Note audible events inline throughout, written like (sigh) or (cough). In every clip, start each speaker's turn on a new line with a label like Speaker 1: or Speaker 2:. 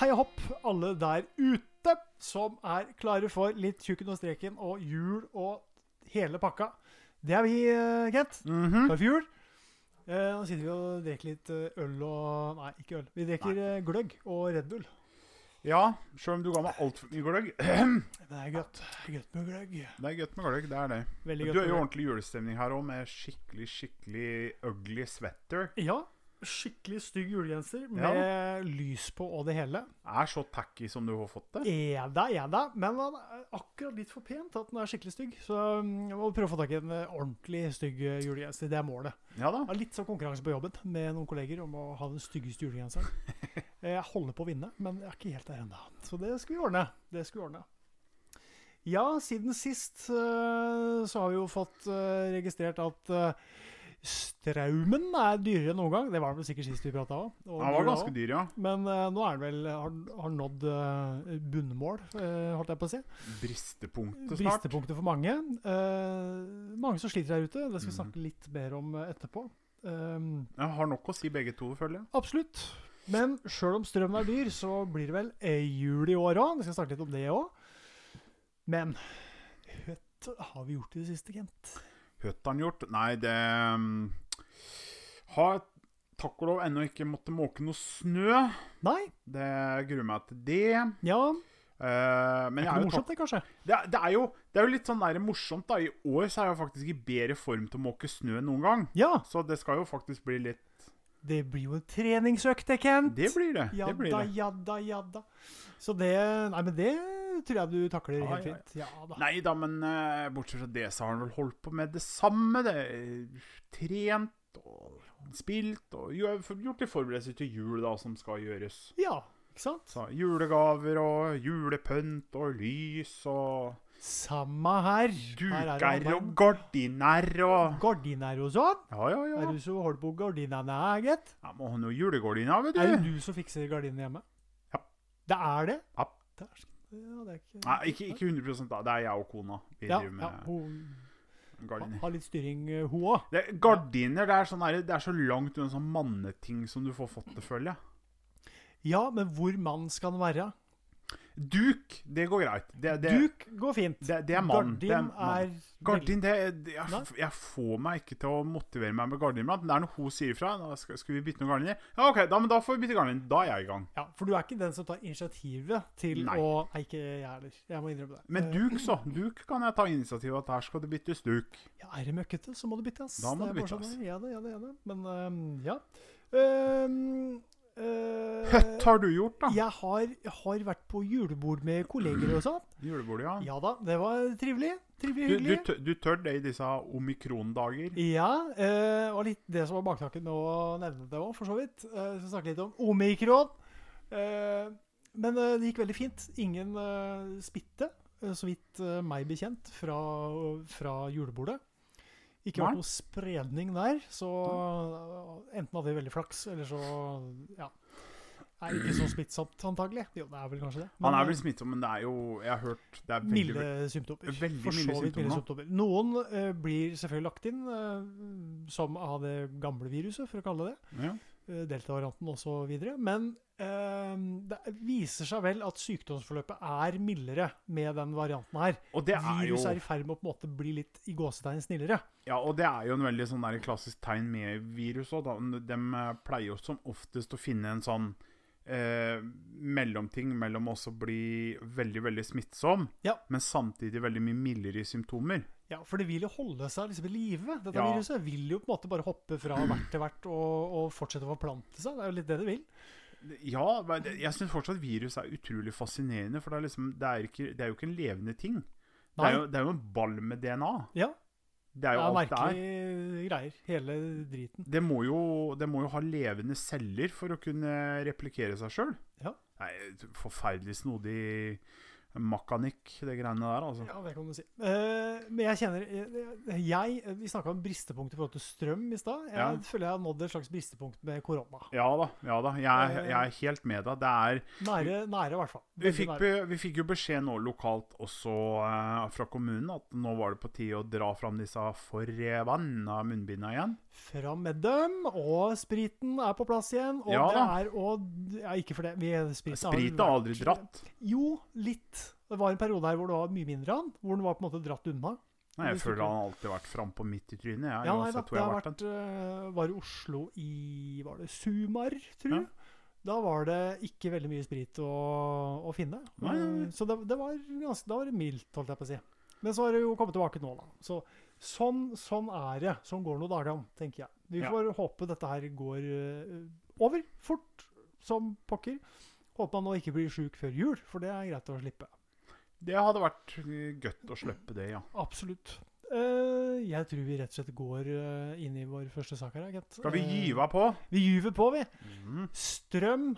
Speaker 1: hei og hopp, alle der ute som er klare for litt tjukken og streken og jul og hele pakka. Det er vi, eh, Kent. Klar for jul. Eh, nå sitter vi og drikker litt eh, øl og Nei, ikke øl. Vi drikker eh, gløgg og Red Bull.
Speaker 2: Ja, sjøl om du ga meg altfor mye gløgg. (clears throat)
Speaker 1: Det er godt. Godt med gløgg.
Speaker 2: Det er godt med gløgg, det er det.
Speaker 1: Veldig
Speaker 2: Men
Speaker 1: godt
Speaker 2: Du
Speaker 1: med
Speaker 2: er jo
Speaker 1: gløgg.
Speaker 2: ordentlig julestemning her òg, med skikkelig, skikkelig ugly sweater.
Speaker 1: Ja. Skikkelig stygg julegenser med lys på og det hele.
Speaker 2: Er så tacky som du har fått det.
Speaker 1: Er det, er det. Men han er akkurat litt for pent til at den er skikkelig stygg. Så mm, jeg må prøve å få tak i en eh, ordentlig stygg eh, julegenser. Det er målet.
Speaker 2: Ja da.
Speaker 1: Jeg har litt sånn konkurranse på jobben med noen kolleger om å ha den styggeste
Speaker 2: (laughs)
Speaker 1: julegenseren. Eh, Jeg holder på å vinne, men jeg er ikke helt der ennå. Så det skal vi ordne. Det skal vi ordne. Ja, siden sist eh, så har vi jo fått eh, registrert at eh, strømmen er dyrere enn noen gang. Det var den vel sikkert sist vi prata òg.
Speaker 2: Han var ganske dyr, ja.
Speaker 1: Men eh, nå er den vel har, har nådd eh, bunnmål, eh, holdt jeg på å si.
Speaker 2: Bristepunktet snart.
Speaker 1: Bristepunktet for mange. Eh, mange som sliter der ute. Det skal vi snakke litt mer om eh, etterpå. Eh,
Speaker 2: Jeg har nok å si begge to, føler jeg.
Speaker 1: absolutt. Men sjøl om strømmen er dyr, så blir det vel eh, jul i år òg. Vi skal snakke litt om det òg. Men høtt har vi gjort i det siste, Kent.
Speaker 2: Høtt han gjort? Nei, det um, Har takk og lov ennå ikke måttet måke noe snø.
Speaker 1: Nei?
Speaker 2: Det jeg gruer meg til det.
Speaker 1: Ja.
Speaker 2: Eh, men
Speaker 1: Det er
Speaker 2: jeg er
Speaker 1: ikke
Speaker 2: jo
Speaker 1: morsomt, det, kanskje?
Speaker 2: Det, er- det, er jo, det er jo litt sånn der morsomt, da. I år så er jeg faktisk i bedre form til å måke snø enn noen gang.
Speaker 1: Ja.
Speaker 2: Så det skal jo faktisk bli litt
Speaker 1: Det blir jo en treningsøkt, det, Kent.
Speaker 2: Det blir det.
Speaker 1: Ja
Speaker 2: det blir
Speaker 1: da,
Speaker 2: det.
Speaker 1: ja da, ja da. Så det Nei, men det tror jeg du takler
Speaker 2: Ja,
Speaker 1: helt
Speaker 2: ja, ja.
Speaker 1: fint. Ja da.
Speaker 2: Nei da, men eh, bortsett fra det, så har han vel holdt på med det samme. Det, trent og spilt og jo, gjort litt forberedelser til jul, da, som skal gjøres.
Speaker 1: Ja, ikke sant?
Speaker 2: Så, julegaver og julepynt og lys og
Speaker 1: Samme her. Her er det
Speaker 2: duker og
Speaker 1: arbeid.
Speaker 2: gardiner og
Speaker 1: Gardiner og sånn.
Speaker 2: Ja, ja, ja.
Speaker 1: Er du som holder på gardinene, gitt?
Speaker 2: Jeg må ha noe julegardiner, vet
Speaker 1: Er
Speaker 2: du.
Speaker 1: det du som fikser gardinene hjemme?
Speaker 2: Ja.
Speaker 1: Det er det?
Speaker 2: Ja.
Speaker 1: Det er, sånn, ja, det er ikke
Speaker 2: Nei, ikke, ikke 100 da. Det er jeg og kona. Vi
Speaker 1: Ja,
Speaker 2: driver
Speaker 1: ja,
Speaker 2: med
Speaker 1: hun
Speaker 2: gardiner.
Speaker 1: har litt styring, eh, hun òg.
Speaker 2: Det, gardiner det er, sånn der, det er så langt unna sånn manneting som du får fått det, føler jeg.
Speaker 1: Ja, men hvor mann skal han være?
Speaker 2: Duk, det går greit. Det, det,
Speaker 1: Duk går fint.
Speaker 2: det, det er mann. det er
Speaker 1: Gardin
Speaker 2: mann.
Speaker 1: er
Speaker 2: Gardin, det, det jeg,
Speaker 1: Nei.
Speaker 2: f- jeg får meg ikke til å motivere meg med gardiner. Men det er når hun sier ifra da skal, 'Skal vi bytte noen gardiner?' Ja, OK, da, men da får vi bytte gardiner. Da er jeg i gang.
Speaker 1: Ja, for du er ikke den som tar initiativet til
Speaker 2: Nei.
Speaker 1: å Nei, ikke jeg heller. Jeg må innrømme det.
Speaker 2: Men
Speaker 1: Eh,
Speaker 2: duk, så. Duk kan jeg ta initiativ at her skal det byttes duk.
Speaker 1: Eh, ja, Er det møkkete, så må du bytte, ass.
Speaker 2: Da må
Speaker 1: Det er
Speaker 2: du
Speaker 1: bare sånn,
Speaker 2: bytte, ass.
Speaker 1: Ja, det, ja, det, ja, det. Men ehm, ja. Ehm, eh,
Speaker 2: Høtt har du gjort, da.
Speaker 1: Jeg har, har vært på julebord med kolleger og sånn.
Speaker 2: Julebordet, ja.
Speaker 1: Ja da, det var trivelig. Trivelig,
Speaker 2: Du, du,
Speaker 1: hyggelig.
Speaker 2: tør- du tør det i disse omikron-dager?
Speaker 1: Ja, eh, og litt det som var baktanken med å nevne det òg, for så vidt. Eh, vi skal snakke litt om omikron. Eh, men eh, det gikk veldig fint. Ingen eh, smitte, eh, så vidt eh, meg bekjent, fra, fra julebordet. Ikke
Speaker 2: Nei.
Speaker 1: vært noe spredning der, så eh, enten hadde vi veldig flaks, eller så ja. Det er ikke så smittsomt, antagelig. Jo, det er vel kanskje det.
Speaker 2: Han er
Speaker 1: eh,
Speaker 2: vel smittsom, men det er jo Jeg har hørt det er veldig
Speaker 1: milde symptomer.
Speaker 2: veldig
Speaker 1: For så
Speaker 2: milde
Speaker 1: vidt milde
Speaker 2: symptomer.
Speaker 1: symptomer. Noen eh, blir selvfølgelig lagt inn eh, som av det gamle viruset, for å kalle det det.
Speaker 2: ja.
Speaker 1: Uh, Delta-varianten osv. Men eh, det viser seg vel at sykdomsforløpet er mildere med den varianten her.
Speaker 2: Og det er jo
Speaker 1: Viruset er i ferd med å på en måte bli litt i gåsetegn snillere.
Speaker 2: Ja, og det er jo en veldig sånn der klassisk tegn med virus òg. De eh, pleier jo som oftest å finne en sånn eh, mellomting mellom oss å bli veldig, veldig smittsom,
Speaker 1: Ja.
Speaker 2: men samtidig veldig mye mildere i symptomer.
Speaker 1: Ja, For det vil jo holde seg liksom i live. Dette
Speaker 2: Ja.
Speaker 1: viruset vil jo på en måte bare hoppe
Speaker 2: (clears throat)
Speaker 1: fra hvert til hvert og, og fortsette å forplante seg. Det er jo litt det det vil.
Speaker 2: Ja, men det- jeg syns fortsatt virus er utrolig fascinerende, for det er, liksom, det er, ikke, det er jo ikke en levende ting. Det
Speaker 1: Nei.
Speaker 2: er, jo, det er jo en ball med DNA.
Speaker 1: Ja,
Speaker 2: Det er
Speaker 1: det
Speaker 2: jo
Speaker 1: er
Speaker 2: alt det er.
Speaker 1: merkelige greier. Hele driten.
Speaker 2: Det må, jo, det må jo ha levende celler for å kunne replikere seg sjøl.
Speaker 1: Ja.
Speaker 2: Forferdelig snodig makanikk, det greiene der, altså.
Speaker 1: Ja, det kan du si. Eh, men jeg kjenner eh, jeg, Vi snakka om bristepunkt i forhold til strøm i stad. Jeg
Speaker 2: Ja.
Speaker 1: føler jeg har nådd et slags bristepunkt med korona.
Speaker 2: Ja da, ja da. Jeg, jeg er helt med deg. Det er
Speaker 1: Nære, nære i hvert fall.
Speaker 2: Vi
Speaker 1: Veldig
Speaker 2: fikk,
Speaker 1: nære.
Speaker 2: be, vi fikk jo beskjed nå lokalt også eh, fra kommunen at nå var det på tide å dra fram disse forbanna munnbinda igjen.
Speaker 1: Fram med dem, og spriten er på plass igjen. Og
Speaker 2: Ja
Speaker 1: det
Speaker 2: da.
Speaker 1: er og Ja, ikke for det. Vi, spriten har
Speaker 2: Sprit har
Speaker 1: vært-
Speaker 2: aldri dratt.
Speaker 1: Jo, litt. Det var en periode her hvor det var mye mindre av den. Hvor den var på en måte dratt unna.
Speaker 2: Nei, jeg
Speaker 1: Det
Speaker 2: føler
Speaker 1: sikkert.
Speaker 2: han alltid har vært frampå midt i trynet. Jeg,
Speaker 1: Ja, nei, da,
Speaker 2: uansett
Speaker 1: det
Speaker 2: hvor jeg
Speaker 1: har
Speaker 2: har vært
Speaker 1: vært, eh, var i Oslo i Var det Sumar, tror jeg. Da var det ikke veldig mye sprit å, å finne.
Speaker 2: Nei, nei, nei.
Speaker 1: Eh, Så det, det var ganske da var det mildt, holdt jeg på å si. Men så har det jo kommet tilbake nå, da. Så sånn, sånn er det. Sånn går det noen dager, om, tenker jeg. Vi
Speaker 2: Ja.
Speaker 1: får håpe dette her går eh, over fort som pokker. Håper man nå ikke blir sjuk før jul, for det er greit å slippe.
Speaker 2: Det hadde vært eh, godt å slippe det, ja.
Speaker 1: Absolutt. Eh, jeg tror vi rett og slett går eh, inn i vår første sak her. Agent.
Speaker 2: Skal vi
Speaker 1: Eh,
Speaker 2: gyve på?
Speaker 1: Vi gyver på, vi.
Speaker 2: Mm.
Speaker 1: Strøm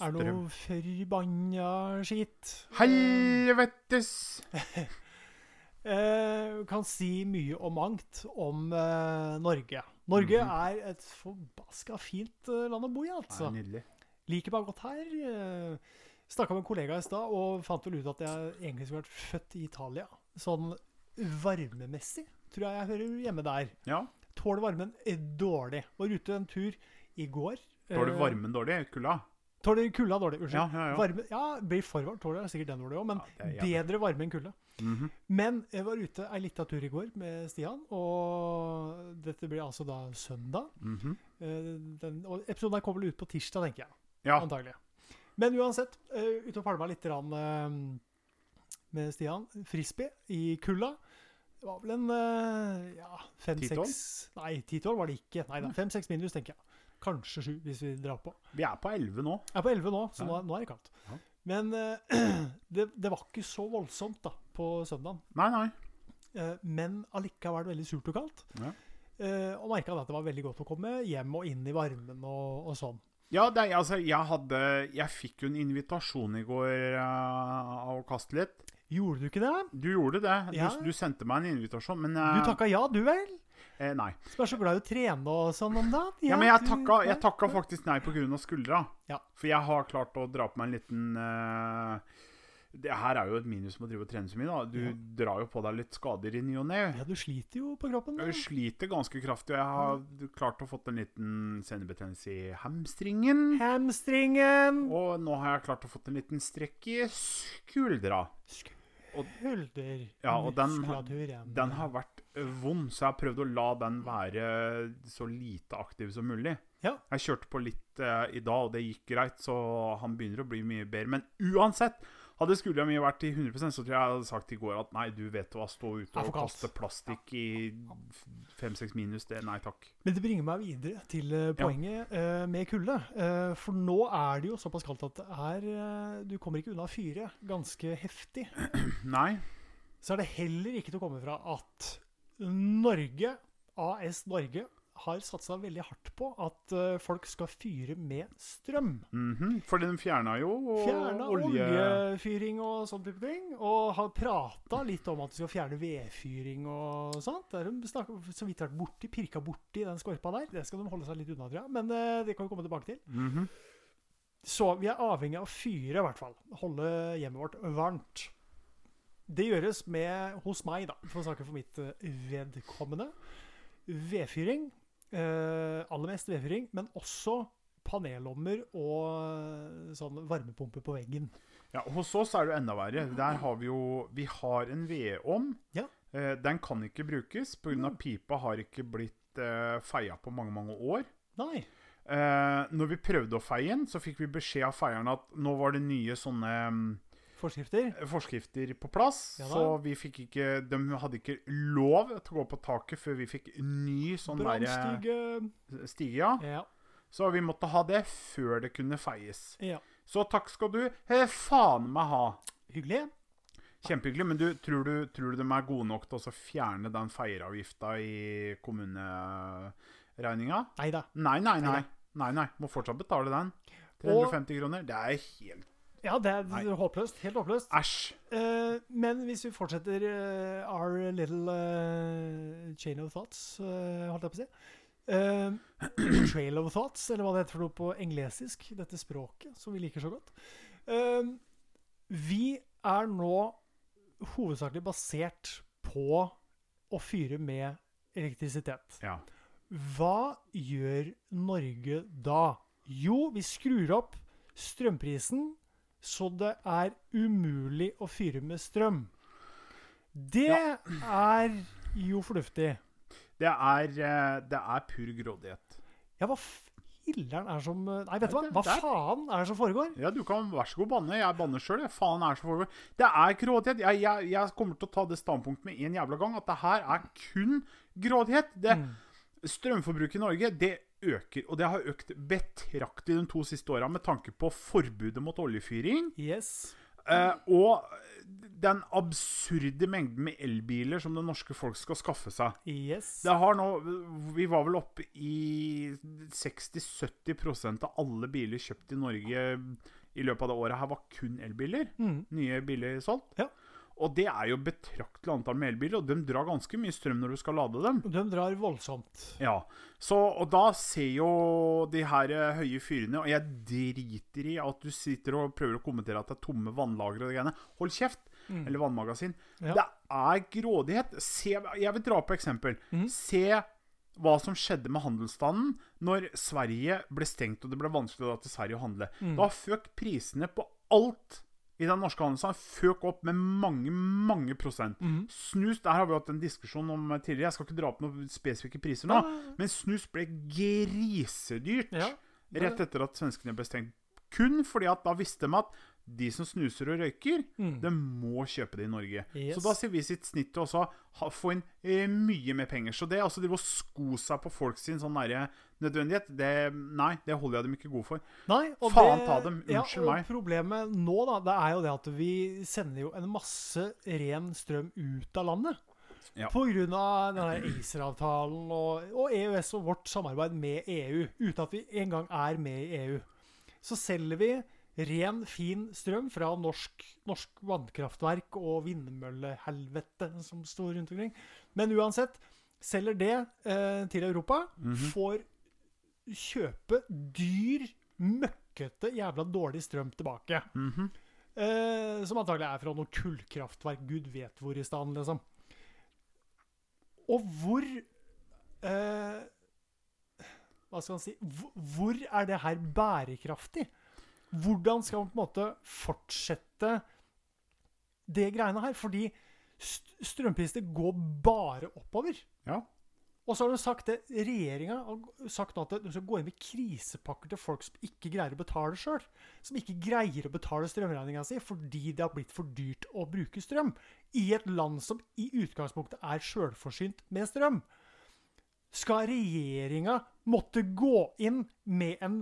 Speaker 1: er noe
Speaker 2: Strøm.
Speaker 1: forbanna skitt.
Speaker 2: Helvetes!
Speaker 1: Eh, kan si mye og mangt om eh, Norge. Norge
Speaker 2: Mhm.
Speaker 1: er et forbaska fint eh, land å bo i,
Speaker 2: Det
Speaker 1: altså.
Speaker 2: er nydelig.
Speaker 1: Liker meg godt her. Eh, Snakka med en kollega i stad og fant vel ut at jeg egentlig skulle vært født i Italia. Sånn varmemessig tror jeg jeg hører hjemme der.
Speaker 2: Ja.
Speaker 1: Tåler varmen eh, dårlig. Var ute en tur i går.
Speaker 2: Tåler
Speaker 1: Eh,
Speaker 2: varmen dårlig? Kulda?
Speaker 1: Tåler kulda dårlig. Unnskyld.
Speaker 2: Ja, ja, ja.
Speaker 1: Varme, ja, blir for varmt. Tåler er sikkert den dårlig òg, men
Speaker 2: Ja, det er jævlig.
Speaker 1: bedre varme enn kulde.
Speaker 2: Mhm.
Speaker 1: Men jeg var ute ei lita tur i går med Stian, og dette blir altså da søndag.
Speaker 2: Mhm.
Speaker 1: Eh, Den, og episoden her kommer vel ut på tirsdag, tenker jeg.
Speaker 2: Ja.
Speaker 1: Antagelig. Men uansett, eh, ute og palma litt rann, med Stian. Frisbee i kulda. Det var vel en eh, ja,
Speaker 2: Ti-tolv?
Speaker 1: fem-seks Nei, ti-tolv var det ikke. Nei da, fem-seks minus, tenker jeg. Kanskje sju, hvis vi drar på.
Speaker 2: Vi er på 11 nå.
Speaker 1: Jeg er på 11 nå, så nå,
Speaker 2: Ja.
Speaker 1: nå er det kaldt.
Speaker 2: Ja.
Speaker 1: Men eh, (clears throat) det, det var ikke så voldsomt da, på søndagen.
Speaker 2: Nei, nei.
Speaker 1: Eh, men allikevel veldig surt og kaldt.
Speaker 2: Ja.
Speaker 1: Eh, og merka at det var veldig godt å komme hjem og inn i varmen og, og sånn.
Speaker 2: Ja, det, er- altså, jeg hadde Jeg fikk jo en invitasjon i går eh, av å kaste litt.
Speaker 1: Gjorde du ikke det?
Speaker 2: Du gjorde det. Du,
Speaker 1: Ja.
Speaker 2: du sendte meg en invitasjon, men
Speaker 1: Du
Speaker 2: eh,
Speaker 1: takka ja, du vel?
Speaker 2: eh, Nei.
Speaker 1: Som er så glad i å trene og sånn om dagen.
Speaker 2: Ja, men jeg
Speaker 1: du-
Speaker 2: takka,
Speaker 1: ja.
Speaker 2: jeg takka faktisk nei pga. skuldra.
Speaker 1: Ja.
Speaker 2: For jeg har klart å dra på meg en liten eh, Det her er jo et minus med å drive og trene så mye, da. Du
Speaker 1: Ja.
Speaker 2: drar jo på deg litt skader i ny og ne.
Speaker 1: Ja, du sliter jo på kroppen. da.
Speaker 2: Jeg sliter ganske kraftig, og jeg har klart å fått en liten senebetennelse i hamstringen.
Speaker 1: Hamstringen
Speaker 2: Og nå har jeg klart å fått en liten strekk i skuldra. og-
Speaker 1: Skulder
Speaker 2: Ja, og den-
Speaker 1: muskulaturen.
Speaker 2: Den har vært vond, så jeg har prøvd å la den være så lite aktiv som mulig.
Speaker 1: Ja.
Speaker 2: Jeg kjørte på litt eh, i dag, og det gikk greit, så han begynner å bli mye bedre. Men uansett, hadde skuldra mi vært i 100 så tror jeg jeg hadde sagt i går at nei, du vet hva, stå
Speaker 1: Det er
Speaker 2: ute og
Speaker 1: for kaldt.
Speaker 2: kaste plastikk i 5-6 minus, det nei takk.
Speaker 1: Men det bringer meg videre til eh, poenget eh, med kulde. Eh, for nå er det jo såpass kaldt at det er eh, Du kommer ikke unna fyret ganske heftig.
Speaker 2: Nei.
Speaker 1: Så er det heller ikke til å komme fra at Norge, AS Norge, har satsa veldig hardt på at eh, folk skal fyre med strøm.
Speaker 2: mhm, For den fjerna jo og
Speaker 1: Fjerna
Speaker 2: olje...
Speaker 1: oljefyring og sånn type ting. Og har prata litt om at du skal fjerne vedfyring og sånt. Det er de snakker- så vidt vært borti, pirka borti den skorpa der. Det skal de holde seg litt unna, tror jeg. Men eh, det kan vi komme tilbake til.
Speaker 2: Mhm.
Speaker 1: Så vi er avhengig av å fyre, i hvert fall. Holde hjemmet vårt varmt. Det gjøres med, hos meg, da, for å snakke for mitt eh, vedkommende. Vedfyring. Eh, aller mest vedfyring, men også panellommer og eh, sånn varmepumpe på veggen.
Speaker 2: Ja, Hos oss er det jo enda verre. Der har vi jo Vi har en vedovn.
Speaker 1: Ja.
Speaker 2: Eh, den kan ikke brukes pga. pipa har ikke blitt eh, feia på mange, mange år.
Speaker 1: Nei.
Speaker 2: Eh, når vi prøvde å feie den, så fikk vi beskjed av feieren at nå var det nye sånne mm,
Speaker 1: Forskrifter.
Speaker 2: forskrifter på plass.
Speaker 1: Ja da.
Speaker 2: så vi fikk ikke De hadde ikke lov til å gå på taket før vi fikk ny sånn eh, derre
Speaker 1: Brannstige
Speaker 2: stige. Ja.
Speaker 1: eh, ja,
Speaker 2: Så vi måtte ha det før det kunne feies.
Speaker 1: ja.
Speaker 2: Så takk skal du eh, faen meg ha.
Speaker 1: Hyggelig.
Speaker 2: Kjempehyggelig, men du, tror, du, tror du de er gode nok til å så fjerne den feieravgifta i kommuneregninga?
Speaker 1: Nei da.
Speaker 2: Nei, nei,
Speaker 1: Nei,
Speaker 2: nei. Nei, nei. Må fortsatt betale den. 350 kroner. Det er helt
Speaker 1: Ja, det er
Speaker 2: Nei.
Speaker 1: håpløst. Helt håpløst.
Speaker 2: Æsj.
Speaker 1: Eh, men hvis vi fortsetter eh, our little eh, chain of thoughts, eh, holdt jeg på å si eh,
Speaker 2: (clears throat)
Speaker 1: Trail of thoughts, eller hva det heter for noe på englesisk. Dette språket som vi liker så godt. Eh, vi er nå hovedsakelig basert på å fyre med elektrisitet.
Speaker 2: Ja.
Speaker 1: Hva gjør Norge da? Jo, vi skrur opp strømprisen så det er umulig å fyre med strøm. Det er jo fornuftig.
Speaker 2: Det er, eh, det er pur grådighet.
Speaker 1: Ja, hva filler'n er som eh, Nei, vet du hva?
Speaker 2: Det-
Speaker 1: Hva
Speaker 2: det er-
Speaker 1: faen er det som foregår?
Speaker 2: Ja, du kan vær så god banne. Jeg banner sjøl. Faen er så forberedt. Det er grådighet. Jeg, jeg, jeg kommer til å ta det standpunktet med en jævla gang, at det her er kun grådighet. Det,
Speaker 1: Mm.
Speaker 2: Strømforbruket i Norge, det øker. Og det har økt betraktelig de to siste åra med tanke på forbudet mot oljefyring.
Speaker 1: Yes.
Speaker 2: Eh, og den absurde mengden med elbiler som det norske folk skal skaffe seg.
Speaker 1: Yes.
Speaker 2: Det har nå, Vi var vel oppe i 60-70 av alle biler kjøpt i Norge i løpet av det året her, var kun elbiler.
Speaker 1: Mm.
Speaker 2: Nye biler solgt.
Speaker 1: Ja.
Speaker 2: Og det er jo betraktelig antall med elbiler, og de drar ganske mye strøm når du skal lade dem.
Speaker 1: De drar voldsomt.
Speaker 2: Ja, så, og da ser jo de her eh, høye fyrene, og jeg driter i at du sitter og prøver å kommentere at det er tomme vannlagre og det greiene. Hold kjeft!
Speaker 1: Mm.
Speaker 2: Eller vannmagasin.
Speaker 1: Ja.
Speaker 2: Det er grådighet. Se, jeg vil dra på eksempel.
Speaker 1: Mhm.
Speaker 2: Se hva som skjedde med handelsstanden når Sverige ble stengt og det ble vanskelig da til Sverige å handle.
Speaker 1: Mm.
Speaker 2: Da føk prisene på alt i den norske handelsstanden føk opp med mange, mange prosent.
Speaker 1: Mhm.
Speaker 2: Snus, der har vi hatt en diskusjon om tidligere, jeg skal ikke dra opp noen spesifikke priser nå, men snus ble grisedyrt
Speaker 1: Ja, det-
Speaker 2: rett etter at svenskene ble stengt. Kun fordi at da visste de at de som snuser og røyker,
Speaker 1: Mm.
Speaker 2: de må kjøpe det i Norge.
Speaker 1: Yes.
Speaker 2: Så da sier vi sitt snitt til også ha, få inn eh, mye mer penger. Så det altså, det å sko seg på folk sin sånn nære nødvendighet, det, nei, det holder jeg dem ikke gode for.
Speaker 1: Nei, og
Speaker 2: Faen
Speaker 1: det,
Speaker 2: ta dem, unnskyld
Speaker 1: ja, og
Speaker 2: meg.
Speaker 1: Problemet nå da, det er jo det at vi sender jo en masse ren strøm ut av landet.
Speaker 2: Ja.
Speaker 1: På grunn av denne ACER-avtalen og, og EØS og vårt samarbeid med EU. Uten at vi engang er med i EU. Så selger vi ren, fin strøm fra norsk, norsk vannkraftverk og vindmøllehelvete som står rundt omkring. Men uansett, selger det eh, til Europa,
Speaker 2: Mhm.
Speaker 1: får kjøpe dyr, møkkete, jævla dårlig strøm tilbake.
Speaker 2: Mhm.
Speaker 1: Eh, som antagelig er fra noe kullkraftverk, gud vet hvor i stand, liksom. Og hvor eh, Hva skal man si hvor, hvor er det her bærekraftig? Hvordan skal man på en måte fortsette det greiene her? Fordi st strømpriser går bare oppover.
Speaker 2: Ja.
Speaker 1: Og så har de sagt det, regjeringa har sagt nå at de skal gå inn med krisepakker til folk som ikke greier å betale sjøl. Som ikke greier å betale strømregninga si fordi det har blitt for dyrt å bruke strøm. I et land som i utgangspunktet er sjølforsynt med strøm. Skal regjeringa måtte gå inn med en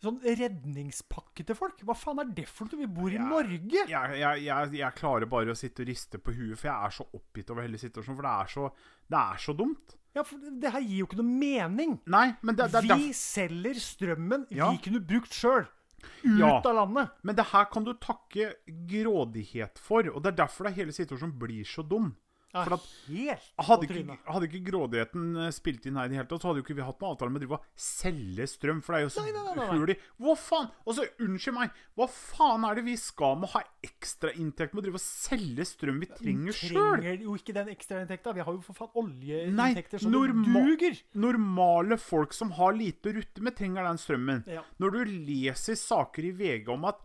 Speaker 1: sånn redningspakke til folk? Hva faen er det for noe? Vi bor i
Speaker 2: Ja,
Speaker 1: Norge!
Speaker 2: Jeg, jeg, jeg, jeg klarer bare å sitte og riste på huet, for jeg er så oppgitt over hele situasjonen. For det er så, det er så dumt.
Speaker 1: Ja, for det her gir jo ikke noe mening.
Speaker 2: Nei, men det, det er derfor
Speaker 1: Vi selger strømmen
Speaker 2: Ja.
Speaker 1: vi kunne brukt sjøl. Ut
Speaker 2: Ja.
Speaker 1: av landet.
Speaker 2: Men det her kan du takke grådighet for, og det er derfor det hele situasjonen blir så dum.
Speaker 1: Ja,
Speaker 2: For at
Speaker 1: helt
Speaker 2: Hadde
Speaker 1: på
Speaker 2: ikke,
Speaker 1: trynet.
Speaker 2: hadde ikke grådigheten eh, spilt inn her i det hele tatt, så hadde jo ikke vi hatt noen avtale med å drive og selge strøm, for det er jo så
Speaker 1: Nei, nei, nei, nei.
Speaker 2: hulig. Hva faen? Altså, unnskyld meg, hva faen er det vi skal med å ha ekstrainntekt med å drive og selge strøm vi trenger sjøl?
Speaker 1: Trenger jo ikke den ekstrainntekta. Vi har jo for faen
Speaker 2: Nei,
Speaker 1: oljeinntekter som det
Speaker 2: norma
Speaker 1: duger.
Speaker 2: normale folk som har lite å rutte med, trenger den strømmen.
Speaker 1: Ja.
Speaker 2: Når du leser saker i VG om at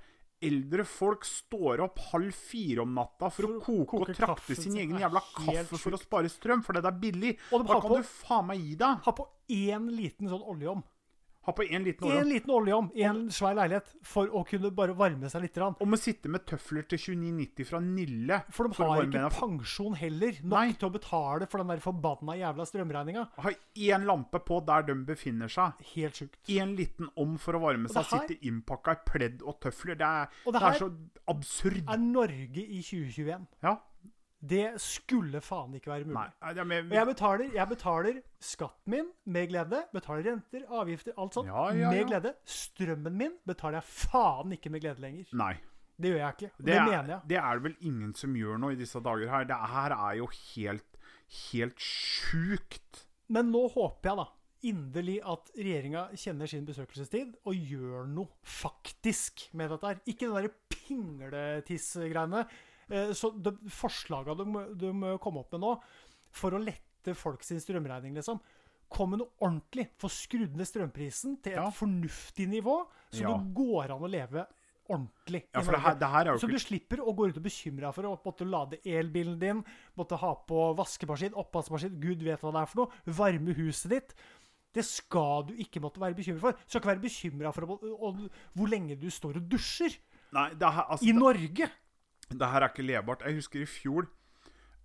Speaker 2: eldre folk står opp halv fire om natta for, å koke, og trakte
Speaker 1: kaffen
Speaker 2: sin
Speaker 1: sin,
Speaker 2: egen
Speaker 1: er
Speaker 2: jævla
Speaker 1: helt
Speaker 2: kaffe for å spare strøm, fordi det er billig,
Speaker 1: Og de
Speaker 2: da
Speaker 1: har
Speaker 2: kan
Speaker 1: på-
Speaker 2: du faen meg gi deg.
Speaker 1: Ha på én liten sånn oljeom.
Speaker 2: Ha på en liten
Speaker 1: Én
Speaker 2: åre.
Speaker 1: liten oljeom i en svær leilighet for å kunne bare varme seg litt. grann.
Speaker 2: Og må sitte med tøfler til 29,90 fra Nille.
Speaker 1: For de
Speaker 2: å
Speaker 1: har ikke
Speaker 2: varme bena.
Speaker 1: pensjon heller nok
Speaker 2: Nei.
Speaker 1: til å betale for den der forbanna jævla strømregninga.
Speaker 2: Ha én lampe på der de befinner seg.
Speaker 1: Helt sjukt.
Speaker 2: Én liten om for å varme
Speaker 1: det
Speaker 2: seg.
Speaker 1: her-
Speaker 2: Sitter innpakka i pledd og tøfler. Det er,
Speaker 1: Og
Speaker 2: det
Speaker 1: det
Speaker 2: er
Speaker 1: her-
Speaker 2: så absurd.
Speaker 1: Er Norge i 2021?
Speaker 2: Ja.
Speaker 1: Det skulle faen ikke være mulig.
Speaker 2: Nei, nei, det er
Speaker 1: Og
Speaker 2: med,
Speaker 1: jeg betaler, jeg betaler skatten min med glede. Betaler renter, avgifter, alt sånt
Speaker 2: Ja, ja, ja.
Speaker 1: med glede. Strømmen min betaler jeg faen ikke med glede lenger.
Speaker 2: nei.
Speaker 1: Det gjør jeg ikke. og
Speaker 2: Det,
Speaker 1: det
Speaker 2: er,
Speaker 1: mener jeg.
Speaker 2: det er det vel ingen som gjør nå i disse dager her. Det her er jo helt, helt sjukt.
Speaker 1: Men nå håper jeg da inderlig at regjeringa kjenner sin besøkelsestid og gjør noe faktisk med dette her. Ikke den der pingletissgreiene. Eh, Så de forslaga de, de kom opp med nå, for å lette folk sin strømregning, liksom. Kom med noe ordentlig. Få skrudd ned strømprisen til et
Speaker 2: Ja.
Speaker 1: fornuftig nivå, så
Speaker 2: Ja.
Speaker 1: det går an å leve ordentlig. i
Speaker 2: Ja, for
Speaker 1: Norge.
Speaker 2: det her, det her er
Speaker 1: Så
Speaker 2: jo
Speaker 1: du
Speaker 2: ikke
Speaker 1: slipper å gå rundt og bekymre deg for å måtte lade elbilen din, måtte ha på vaskemaskin, oppvaskmaskin, gud vet hva det er for noe, varme huset ditt. Det skal du ikke måtte være bekymret for. Du skal ikke være bekymra for å, å, hvor lenge du står og dusjer.
Speaker 2: Nei, det her, altså,
Speaker 1: I Norge!
Speaker 2: Det her er ikke levbart. Jeg husker i fjor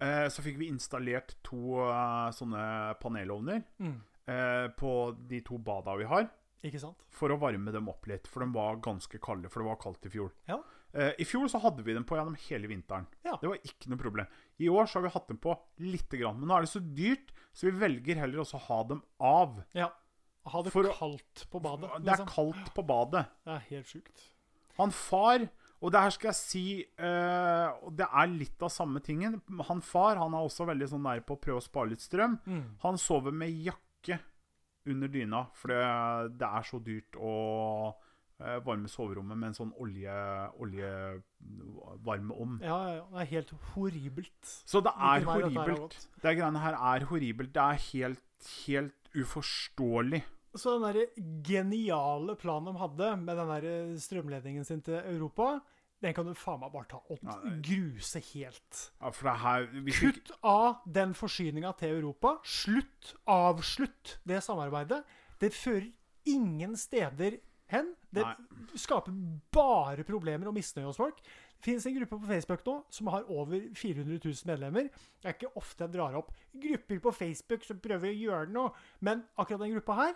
Speaker 2: eh, så fikk vi installert to eh, sånne panelovner
Speaker 1: Mm.
Speaker 2: eh, på de to bada vi har,
Speaker 1: Ikke sant?
Speaker 2: for å varme dem opp litt. For de var ganske kalde, for det var kaldt i fjor.
Speaker 1: Ja.
Speaker 2: Eh, I fjor så hadde vi dem på gjennom hele vinteren.
Speaker 1: Ja.
Speaker 2: Det var ikke noe problem. I år så har vi hatt dem på lite grann, men nå er det så dyrt, så vi velger heller også å ha dem av.
Speaker 1: ja. Ha det
Speaker 2: For å-
Speaker 1: kaldt på badet.
Speaker 2: Det er
Speaker 1: Liksom.
Speaker 2: kaldt på badet.
Speaker 1: Det er helt sjukt.
Speaker 2: Han far, og det her skal jeg si eh, og Det er litt av samme tingen. Han far han er også veldig sånn nær på å prøve å spare litt strøm.
Speaker 1: Mm.
Speaker 2: Han sover med jakke under dyna, for det, det er så dyrt å eh, varme soverommet med en sånn olje oljevarmeovn.
Speaker 1: Ja, ja, ja. Det er helt horribelt.
Speaker 2: Så det er
Speaker 1: Hvilken vei dette her har
Speaker 2: horribelt.
Speaker 1: gått.
Speaker 2: Det greiene her er horribelt. Det er helt, helt uforståelig.
Speaker 1: Så den der geniale planen de hadde med den der eh, strømledningen sin til Europa, den kan du faen meg bare ta og
Speaker 2: Ja, det-
Speaker 1: gruse helt.
Speaker 2: Ja, for det her hvis vi-
Speaker 1: Kutt av den forsyninga til Europa. Slutt. Avslutt det samarbeidet. Det fører ingen steder hen. Det
Speaker 2: Nei.
Speaker 1: skaper bare problemer og misnøye hos folk. Det finnes en gruppe på Facebook nå som har over 400 000 medlemmer. Det er ikke ofte jeg drar opp grupper på Facebook som prøver å gjøre noe, men akkurat den gruppa her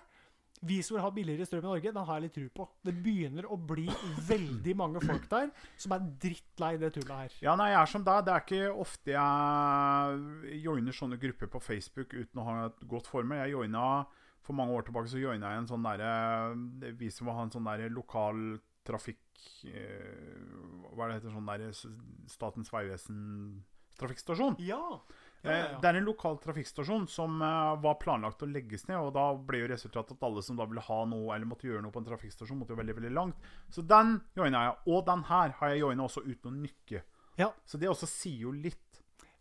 Speaker 1: vi som vil ha billigere strøm i Norge, den har jeg litt tru på. Det begynner å bli veldig mange folk der som er drittlei det tullet her.
Speaker 2: Ja, nei, jeg er som deg. Det er ikke ofte jeg joiner sånne grupper på Facebook uten å ha et godt formel. Jeg joina for mange år tilbake så joina jeg en sånn derre Vi som har en sånn derre lokal trafikk eh, Hva er det heter sånn derre s- Statens vegvesen trafikkstasjon.
Speaker 1: Ja.
Speaker 2: Eh, Det er en lokal trafikkstasjon som eh, var planlagt å legges ned, og da ble jo resultatet at alle som da ville ha noe eller måtte gjøre noe på en trafikkstasjon, måtte jo veldig veldig langt. Så den joina jeg. Og den her har jeg joina også uten å nykke.
Speaker 1: Ja.
Speaker 2: Så det også sier jo litt.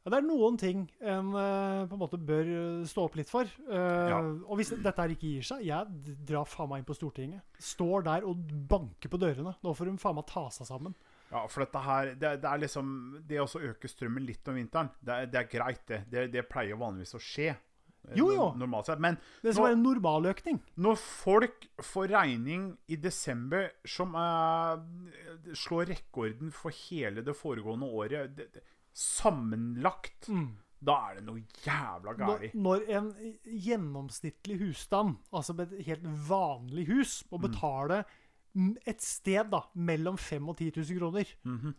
Speaker 1: Ja, det er noen ting en eh, på en måte bør eh, stå opp litt for. Eh,
Speaker 2: Ja.
Speaker 1: Og hvis dette her ikke gir seg, jeg d- drar faen meg inn på Stortinget. Står der og banker på dørene. Nå får de faen meg ta seg sammen.
Speaker 2: Ja, for dette her, det, det er liksom Det å også øke strømmen litt om vinteren, det er, det er greit, det. det. Det pleier vanligvis å skje. eh,
Speaker 1: Jo,
Speaker 2: no-
Speaker 1: jo.
Speaker 2: Normalt sett. Men
Speaker 1: Det skal
Speaker 2: Nå-
Speaker 1: være en normaløkning.
Speaker 2: når folk får regning i desember som eh, slår rekorden for hele det foregående året det, det, sammenlagt,
Speaker 1: Mm.
Speaker 2: da er det noe jævla
Speaker 1: Når,
Speaker 2: gærent.
Speaker 1: når en gjennomsnittlig husstand, altså med et helt vanlig hus, må betale mm, et sted da, mellom 5 og 10 000 kroner
Speaker 2: Mhm.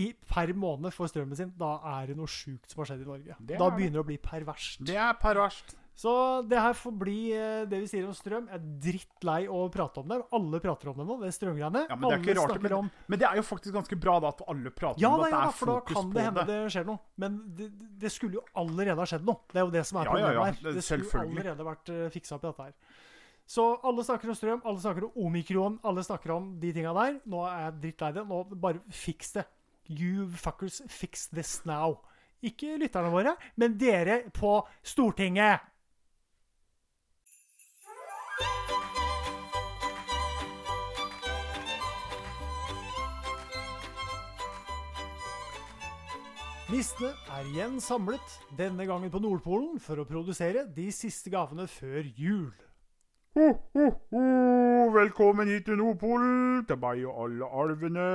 Speaker 1: i, per måned for strømmen sin, da er det noe sjukt som har skjedd i Norge.
Speaker 2: Det
Speaker 1: Da
Speaker 2: er det.
Speaker 1: begynner det å bli perverst.
Speaker 2: Det er perverst.
Speaker 1: Så det her får bli eh, det vi sier om strøm. Jeg er drittlei å prate om det. Alle prater om det nå, det er strømgreiene.
Speaker 2: Ja, men, det er ikke
Speaker 1: Alle
Speaker 2: rart,
Speaker 1: snakker
Speaker 2: men,
Speaker 1: om
Speaker 2: men det er jo faktisk ganske bra da at alle prater
Speaker 1: ja,
Speaker 2: om
Speaker 1: da,
Speaker 2: at
Speaker 1: ja,
Speaker 2: det
Speaker 1: da,
Speaker 2: er
Speaker 1: for da
Speaker 2: fokus
Speaker 1: kan
Speaker 2: på
Speaker 1: det hende det. skjer noe. Men det, det skulle jo allerede ha skjedd noe. Det er jo det som er
Speaker 2: Ja, ja,
Speaker 1: problemet
Speaker 2: ja.
Speaker 1: her.
Speaker 2: Det-
Speaker 1: Det skulle jo
Speaker 2: selvfølgelig.
Speaker 1: allerede vært eh, fiksa opp i dette her. Så alle snakker om strøm, alle snakker om omikron, alle snakker om de tinga der. Nå er jeg drittlei det. Nå bare fiks det. You fuckers fix this now. Ikke lytterne våre, men dere på Stortinget. Nissene er igjen samlet, denne gangen på Nordpolen, for å produsere de siste gavene før jul.
Speaker 2: Ho, ho, ho! Velkommen hit til Nordpolen! Til meg og alle alvene.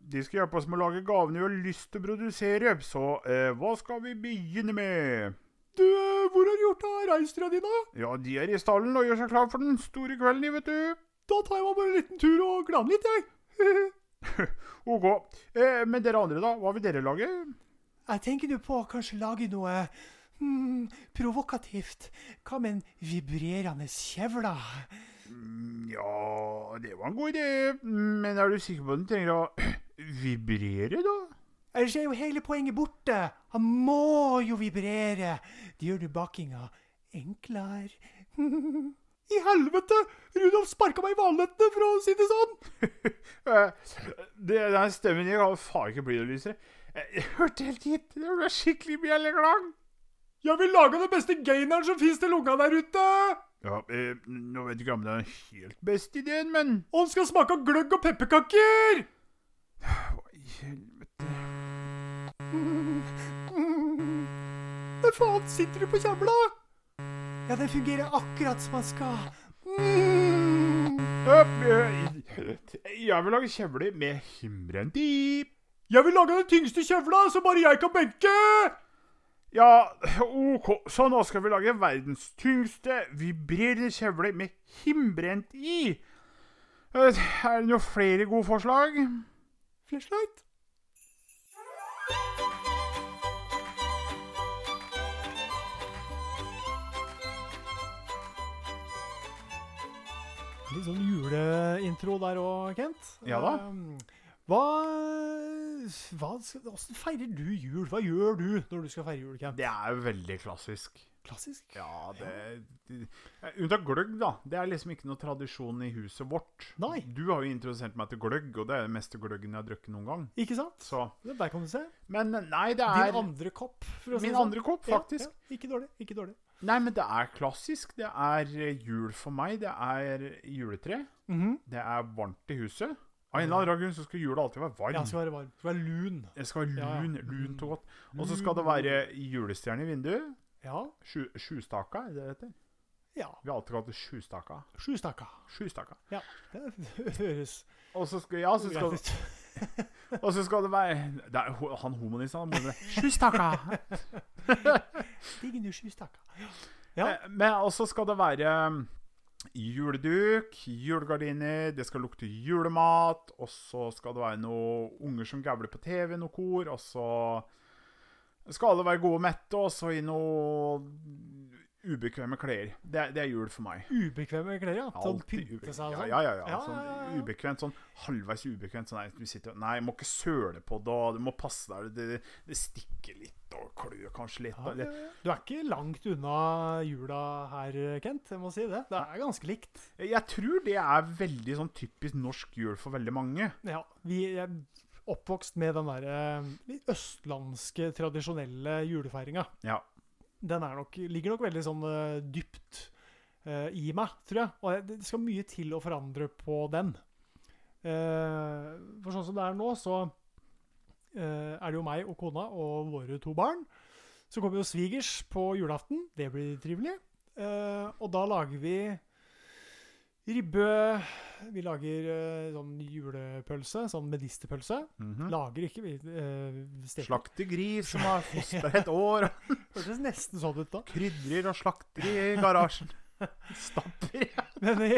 Speaker 2: De skal hjelpe oss med å lage gavene vi har lyst til å produsere. Så eh, hva skal vi begynne med?
Speaker 1: Du, hvor har du gjort av reinsdyra dine?
Speaker 2: Ja, de er i stallen og gjør seg klar for den store kvelden, de, vet du.
Speaker 1: Da tar jeg meg bare en liten tur og glaner litt, jeg.
Speaker 2: Ok. Eh, men dere andre, da? Hva vil dere lage?
Speaker 1: (laughs) Jeg tenker du på å kanskje lage noe hmm, provokativt. Hva med en vibrerende kjevle?
Speaker 2: Mm, Ja, det var en god idé. Men er du sikker på at den trenger å (clears throat) vibrere, da?
Speaker 1: Ellers er jo hele poenget borte. Han må jo vibrere. Det gjør du bakinga enklere. (laughs) I helvete! Rudolf sparka meg i valnøttene, for å si det sånn.
Speaker 2: Eh, Det, den stemmen jeg har faen ikke blitt noe lysere. Eh, Jeg hørte helt hit. Det var skikkelig bjelleklang.
Speaker 1: Jeg vil lage den beste gaineren som fins til unga der ute.
Speaker 2: Ja, eh, nå vet jeg ikke om det er den helt beste ideen, men
Speaker 1: Og den skal smake av gløgg og pepperkaker. (laughs)
Speaker 2: Hva i helvete?
Speaker 1: Hva faen sitter du på kjevla? Ja, den fungerer akkurat som den skal. Mm.
Speaker 2: Eh, eh, Jeg vil lage kjevler med himrent i.
Speaker 1: (laughs) Jeg vil lage den tyngste kjevla som bare jeg kan benke!
Speaker 2: Ja, ok, så nå skal vi lage verdens tyngste vibrerende kjevle med himbrent i. Eh, Er det noen flere gode forslag?
Speaker 1: Flashlight? Litt sånn juleintro der òg, Kent.
Speaker 2: Ja da.
Speaker 1: Ehm, Hva, hva skal, Hvordan feirer du jul? Hva gjør du når du skal feire jul, Kent?
Speaker 2: Det er jo veldig klassisk.
Speaker 1: Klassisk?
Speaker 2: Ja, det, det eh, Unntatt gløgg, da. Det er liksom ikke noe tradisjon i huset vårt.
Speaker 1: Nei.
Speaker 2: Du har jo introdusert meg til gløgg, og det er den meste gløggen jeg har drukket noen gang.
Speaker 1: Ikke sant?
Speaker 2: Så,
Speaker 1: Det Der kan du se.
Speaker 2: men nei, det er
Speaker 1: Din andre kopp. For å si
Speaker 2: min
Speaker 1: det sånn.
Speaker 2: andre kopp,
Speaker 1: Ja,
Speaker 2: faktisk.
Speaker 1: Ja, ikke dårlig. ikke dårlig.
Speaker 2: Nei, men det er klassisk. Det er eh, jul for meg. Det er juletre.
Speaker 1: Mhm.
Speaker 2: Det er varmt i huset. Av en eller annen grunn så skal jula alltid
Speaker 1: Ja,
Speaker 2: være varm.
Speaker 1: den skal være varm. Den Skal være lun.
Speaker 2: Det skal være
Speaker 1: Ja, ja.
Speaker 2: lun, lunt og godt. Og så skal det være julestjerne i vinduet.
Speaker 1: Ja.
Speaker 2: Sju, sjustaka, er det det heter?
Speaker 1: ja.
Speaker 2: Vi har alltid kalt det sjustaka.
Speaker 1: Sju stakka.
Speaker 2: Sjustaka.
Speaker 1: Ja, det høres
Speaker 2: Og så skal, ja, så skal,
Speaker 1: greit ut.
Speaker 2: og så skal det være det er, ho- Han homonissen, han mener det. (laughs) Sjustaka!
Speaker 1: Digg nå, sju stakka. Ja.
Speaker 2: Eh, Men og så skal det være um, juleduk, julegardiner, det skal lukte julemat, og så skal det være noen unger som gavler på TV, noe kor, og så skal alle være gode og mette, og så i noe ubekvemme klær. Det, det er jul for meg.
Speaker 1: Ubekvemme klær, ja. Sånn
Speaker 2: Alltid
Speaker 1: pynte
Speaker 2: ube-
Speaker 1: seg og
Speaker 2: ja,
Speaker 1: sånn.
Speaker 2: ja, ja, ja.
Speaker 1: Ja, ja, ja,
Speaker 2: Sånn
Speaker 1: ja.
Speaker 2: ubekvemt, sånn halvveis ubekvemt. Sånn, nei, du sitter, nei, må ikke søle på det, og du må passe deg, det, det stikker litt og klør kanskje litt.
Speaker 1: Ja,
Speaker 2: og det-
Speaker 1: ja, ja. Du er ikke langt unna jula her, Kent. Jeg må si det. Det er ganske likt.
Speaker 2: Jeg tror det er veldig sånn typisk norsk jul for veldig mange.
Speaker 1: Ja, vi er oppvokst med den derre litt østlandske, tradisjonelle julefeiringa.
Speaker 2: Ja.
Speaker 1: Den er nok, ligger nok veldig sånn eh, dypt eh, i meg, tror jeg. Og jeg- det skal mye til å forandre på den. Eh, for sånn som det er nå, så eh, er det jo meg og kona og våre to barn. Så kommer jo svigers på julaften. Det blir trivelig. Eh, og da lager vi ribbe Vi lager eh, sånn julepølse, sånn medisterpølse.
Speaker 2: Mm.
Speaker 1: Lager ikke, vi eh, steker.
Speaker 2: Slakter gris mhm.
Speaker 1: (laughs)
Speaker 2: som har fostret et år, og
Speaker 1: Hørtes nesten sånn ut da.
Speaker 2: krydrer og slakter i
Speaker 1: (laughs)
Speaker 2: garasjen. Stapper.
Speaker 1: Men i,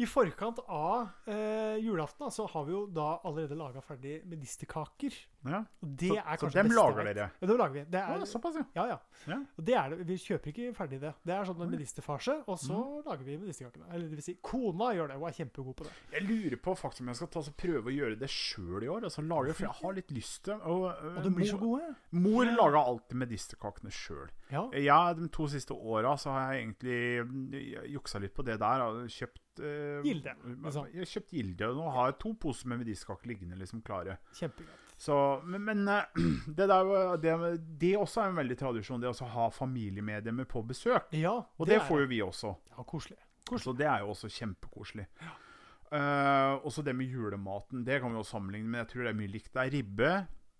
Speaker 1: i forkant av eh, julaften da, så har vi jo da allerede laga ferdig medisterkaker.
Speaker 2: Ja.
Speaker 1: Og det
Speaker 2: Så-
Speaker 1: er
Speaker 2: så
Speaker 1: kanskje
Speaker 2: dem
Speaker 1: det beste
Speaker 2: lager
Speaker 1: jeg vet.
Speaker 2: dere?
Speaker 1: Ja, dem lager vi. Det
Speaker 2: Ja,
Speaker 1: er,
Speaker 2: såpass, ja.
Speaker 1: ja, ja.
Speaker 2: Ja.
Speaker 1: Og det er det. Vi kjøper ikke ferdig det. Det er sånn en medisterfarse, og så
Speaker 2: Mm.
Speaker 1: lager vi medisterkakene. Eller det vil si, kona gjør det. Hun er kjempegod på det.
Speaker 2: Jeg lurer på faktisk om jeg skal ta så prøve å gjøre det sjøl i år. Altså, lage, for jeg har litt lyst til Og, øh,
Speaker 1: Og de blir så
Speaker 2: mor,
Speaker 1: gode.
Speaker 2: mor lager alltid medisterkakene sjøl.
Speaker 1: Ja.
Speaker 2: Ja, de to siste åra så har jeg egentlig mm, juksa litt på det der. og Kjøpt eh,
Speaker 1: Gilde, liksom.
Speaker 2: Jeg har kjøpt Gilde, og nå har jeg to poser med medisterkaker liggende liksom klare.
Speaker 1: Kjempegodt.
Speaker 2: Så, men men eh, (clears throat) det, der, var- det, det også er en veldig tradisjon, det også å ha familiemedlemmer på besøk.
Speaker 1: Ja,
Speaker 2: Og det,
Speaker 1: er
Speaker 2: får jo vi også,
Speaker 1: Ja, koselig.
Speaker 2: så det er jo også kjempekoselig. Eh, også det med julematen, det kan vi jo sammenligne, men jeg tror det er mye likt. Det er ribbe,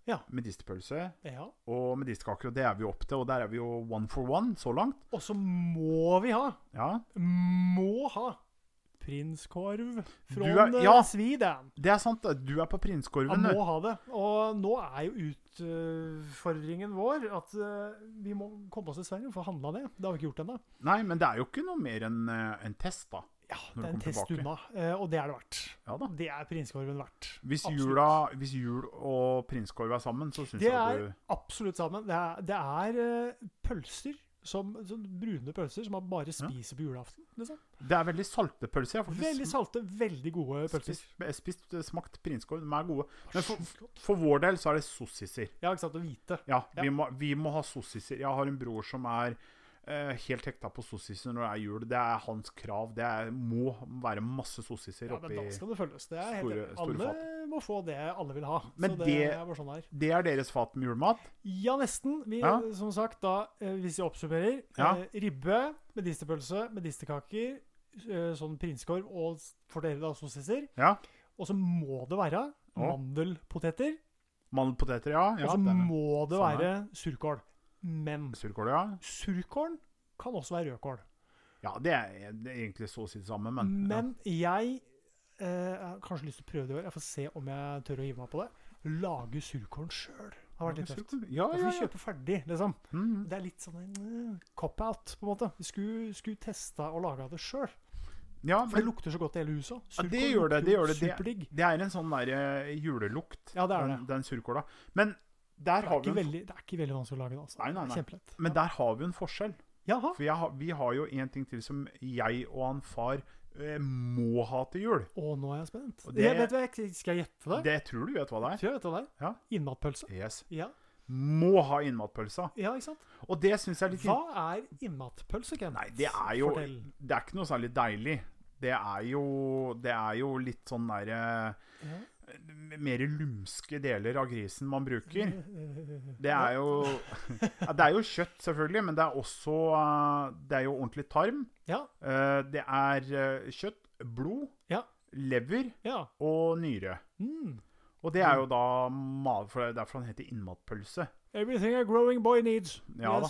Speaker 1: Ja.
Speaker 2: medisterpølse
Speaker 1: Ja.
Speaker 2: og medisterkaker, og det er vi jo opp til. Og der er vi jo one for one så langt.
Speaker 1: Og så må vi ha,
Speaker 2: Ja,
Speaker 1: må ha, prinskorv
Speaker 2: Du
Speaker 1: fra
Speaker 2: er-
Speaker 1: eh,
Speaker 2: ja.
Speaker 1: Sweden.
Speaker 2: Det er sant. da. Du er på
Speaker 1: Han
Speaker 2: prinskorven.
Speaker 1: må
Speaker 2: du.
Speaker 1: ha det. Og nå er jo utfordringen vår at eh, vi må komme oss til Sverige og få handla det. Det har vi ikke gjort ennå.
Speaker 2: Nei, men det er jo ikke noe mer enn eh, en test, da.
Speaker 1: Ja, det
Speaker 2: Når du
Speaker 1: er en
Speaker 2: kommer
Speaker 1: test
Speaker 2: tilbake.
Speaker 1: unna, eh, og det er det verdt.
Speaker 2: Ja da.
Speaker 1: Det er prinskorven verdt.
Speaker 2: Hvis,
Speaker 1: Absolutt.
Speaker 2: jula, hvis jul og prinskorv er sammen, så syns
Speaker 1: Det
Speaker 2: jeg at
Speaker 1: er
Speaker 2: du
Speaker 1: absolutt sammen. Det er, det er eh, pølser, som, sånn brune pølser, som man bare
Speaker 2: Ja.
Speaker 1: spiser på julaften. Liksom.
Speaker 2: Det er veldig saltepølse. Jeg har faktisk
Speaker 1: Veldig salte, veldig gode pølser.
Speaker 2: spist, eh, spist, smakt prinskorv. De er gode. Men for,
Speaker 1: Sjukt godt.
Speaker 2: for vår del så er det sossiser.
Speaker 1: Ja, ikke sant. Å hvite.
Speaker 2: Ja,
Speaker 1: Ja.
Speaker 2: Vi, må, vi må ha sossiser. Jeg har en bror som er eh, helt hekta på sossiser når det er jul. Det er hans krav. Det er, må være masse sossiser
Speaker 1: Ja, men
Speaker 2: oppi
Speaker 1: da skal det følges. Det er helt,
Speaker 2: store-
Speaker 1: enig.
Speaker 2: store
Speaker 1: alle må få det alle vil ha.
Speaker 2: Men
Speaker 1: så det,
Speaker 2: det-
Speaker 1: er bare sånn det er.
Speaker 2: Det er deres fat med julemat.
Speaker 1: Ja, nesten. Vi,
Speaker 2: Ja.
Speaker 1: Som sagt, da, eh, hvis jeg oppsummerer
Speaker 2: Ja.
Speaker 1: eh, Ribbe, medisterpølse, medisterkaker, eh, sånn prinskorv og s- for dere da sossiser.
Speaker 2: Ja.
Speaker 1: Og så må det være
Speaker 2: Ja.
Speaker 1: mandelpoteter.
Speaker 2: Mandelpoteter, ja. ja
Speaker 1: og så
Speaker 2: den-
Speaker 1: må det
Speaker 2: samme.
Speaker 1: være surkål. Men
Speaker 2: Surkål, ja.
Speaker 1: surkål kan også være rødkål.
Speaker 2: Ja, det er, det er egentlig så å si det samme, men, ja.
Speaker 1: Men jeg eh, jeg har kanskje lyst til å prøve det i år. Jeg får se om jeg tør å hive meg på det. Lage surkålen sjøl har vært litt tøft.
Speaker 2: Surkål, Ja,
Speaker 1: Da får
Speaker 2: ja,
Speaker 1: vi
Speaker 2: ja.
Speaker 1: kjøpe ferdig, liksom.
Speaker 2: Mm.
Speaker 1: Det er litt sånn en eh, cop-out, på en måte. Vi skulle, skulle testa og laga det sjøl.
Speaker 2: ja
Speaker 1: For det
Speaker 2: men
Speaker 1: lukter så godt i hele huset. også.
Speaker 2: Ja, det
Speaker 1: Surkål
Speaker 2: gjør
Speaker 1: lukter
Speaker 2: det, det
Speaker 1: jo
Speaker 2: gjør det. Det-
Speaker 1: Superdigg.
Speaker 2: det er en sånn der eh, julelukt,
Speaker 1: Ja, det er
Speaker 2: den, den surkåla. Men der
Speaker 1: Det er,
Speaker 2: har
Speaker 1: ikke
Speaker 2: vi en,
Speaker 1: veldig, det er ikke veldig vanskelig å lage det. altså.
Speaker 2: Nei, nei, nei.
Speaker 1: Kjempelett.
Speaker 2: men der har vi en forskjell.
Speaker 1: Jaha.
Speaker 2: For jeg har, vi har jo en ting til som jeg og han far eh, må ha til jul.
Speaker 1: Å, nå er jeg spent.
Speaker 2: Og det-
Speaker 1: Jeg vet hva jeg, skal jeg gjette det?
Speaker 2: Det tror du vet hva det er.
Speaker 1: Tror jeg vet hva det er.
Speaker 2: Ja.
Speaker 1: Innmatpølse.
Speaker 2: Yes.
Speaker 1: Ja.
Speaker 2: Må ha innmatpølsa.
Speaker 1: ja, ikke sant?
Speaker 2: Og det syns jeg er litt
Speaker 1: Hva er innmatpølse, Ken?
Speaker 2: Nei, det er jo
Speaker 1: Fortell.
Speaker 2: Det er ikke noe særlig deilig. Det er jo, det er jo litt sånn derre
Speaker 1: Ja.
Speaker 2: Mer lumske deler av grisen man bruker.
Speaker 1: Det
Speaker 2: Det er jo ja, Det er jo kjøtt, selvfølgelig, men det er også eh, Det er jo ordentlig tarm.
Speaker 1: Ja.
Speaker 2: Eh, Det er eh, kjøtt, blod,
Speaker 1: Ja.
Speaker 2: lever
Speaker 1: Ja.
Speaker 2: og nyre.
Speaker 1: Mm.
Speaker 2: Og det er jo da ma- For det er derfor han heter innmatpølse.
Speaker 1: Everything a growing boy needs.
Speaker 2: Ja da.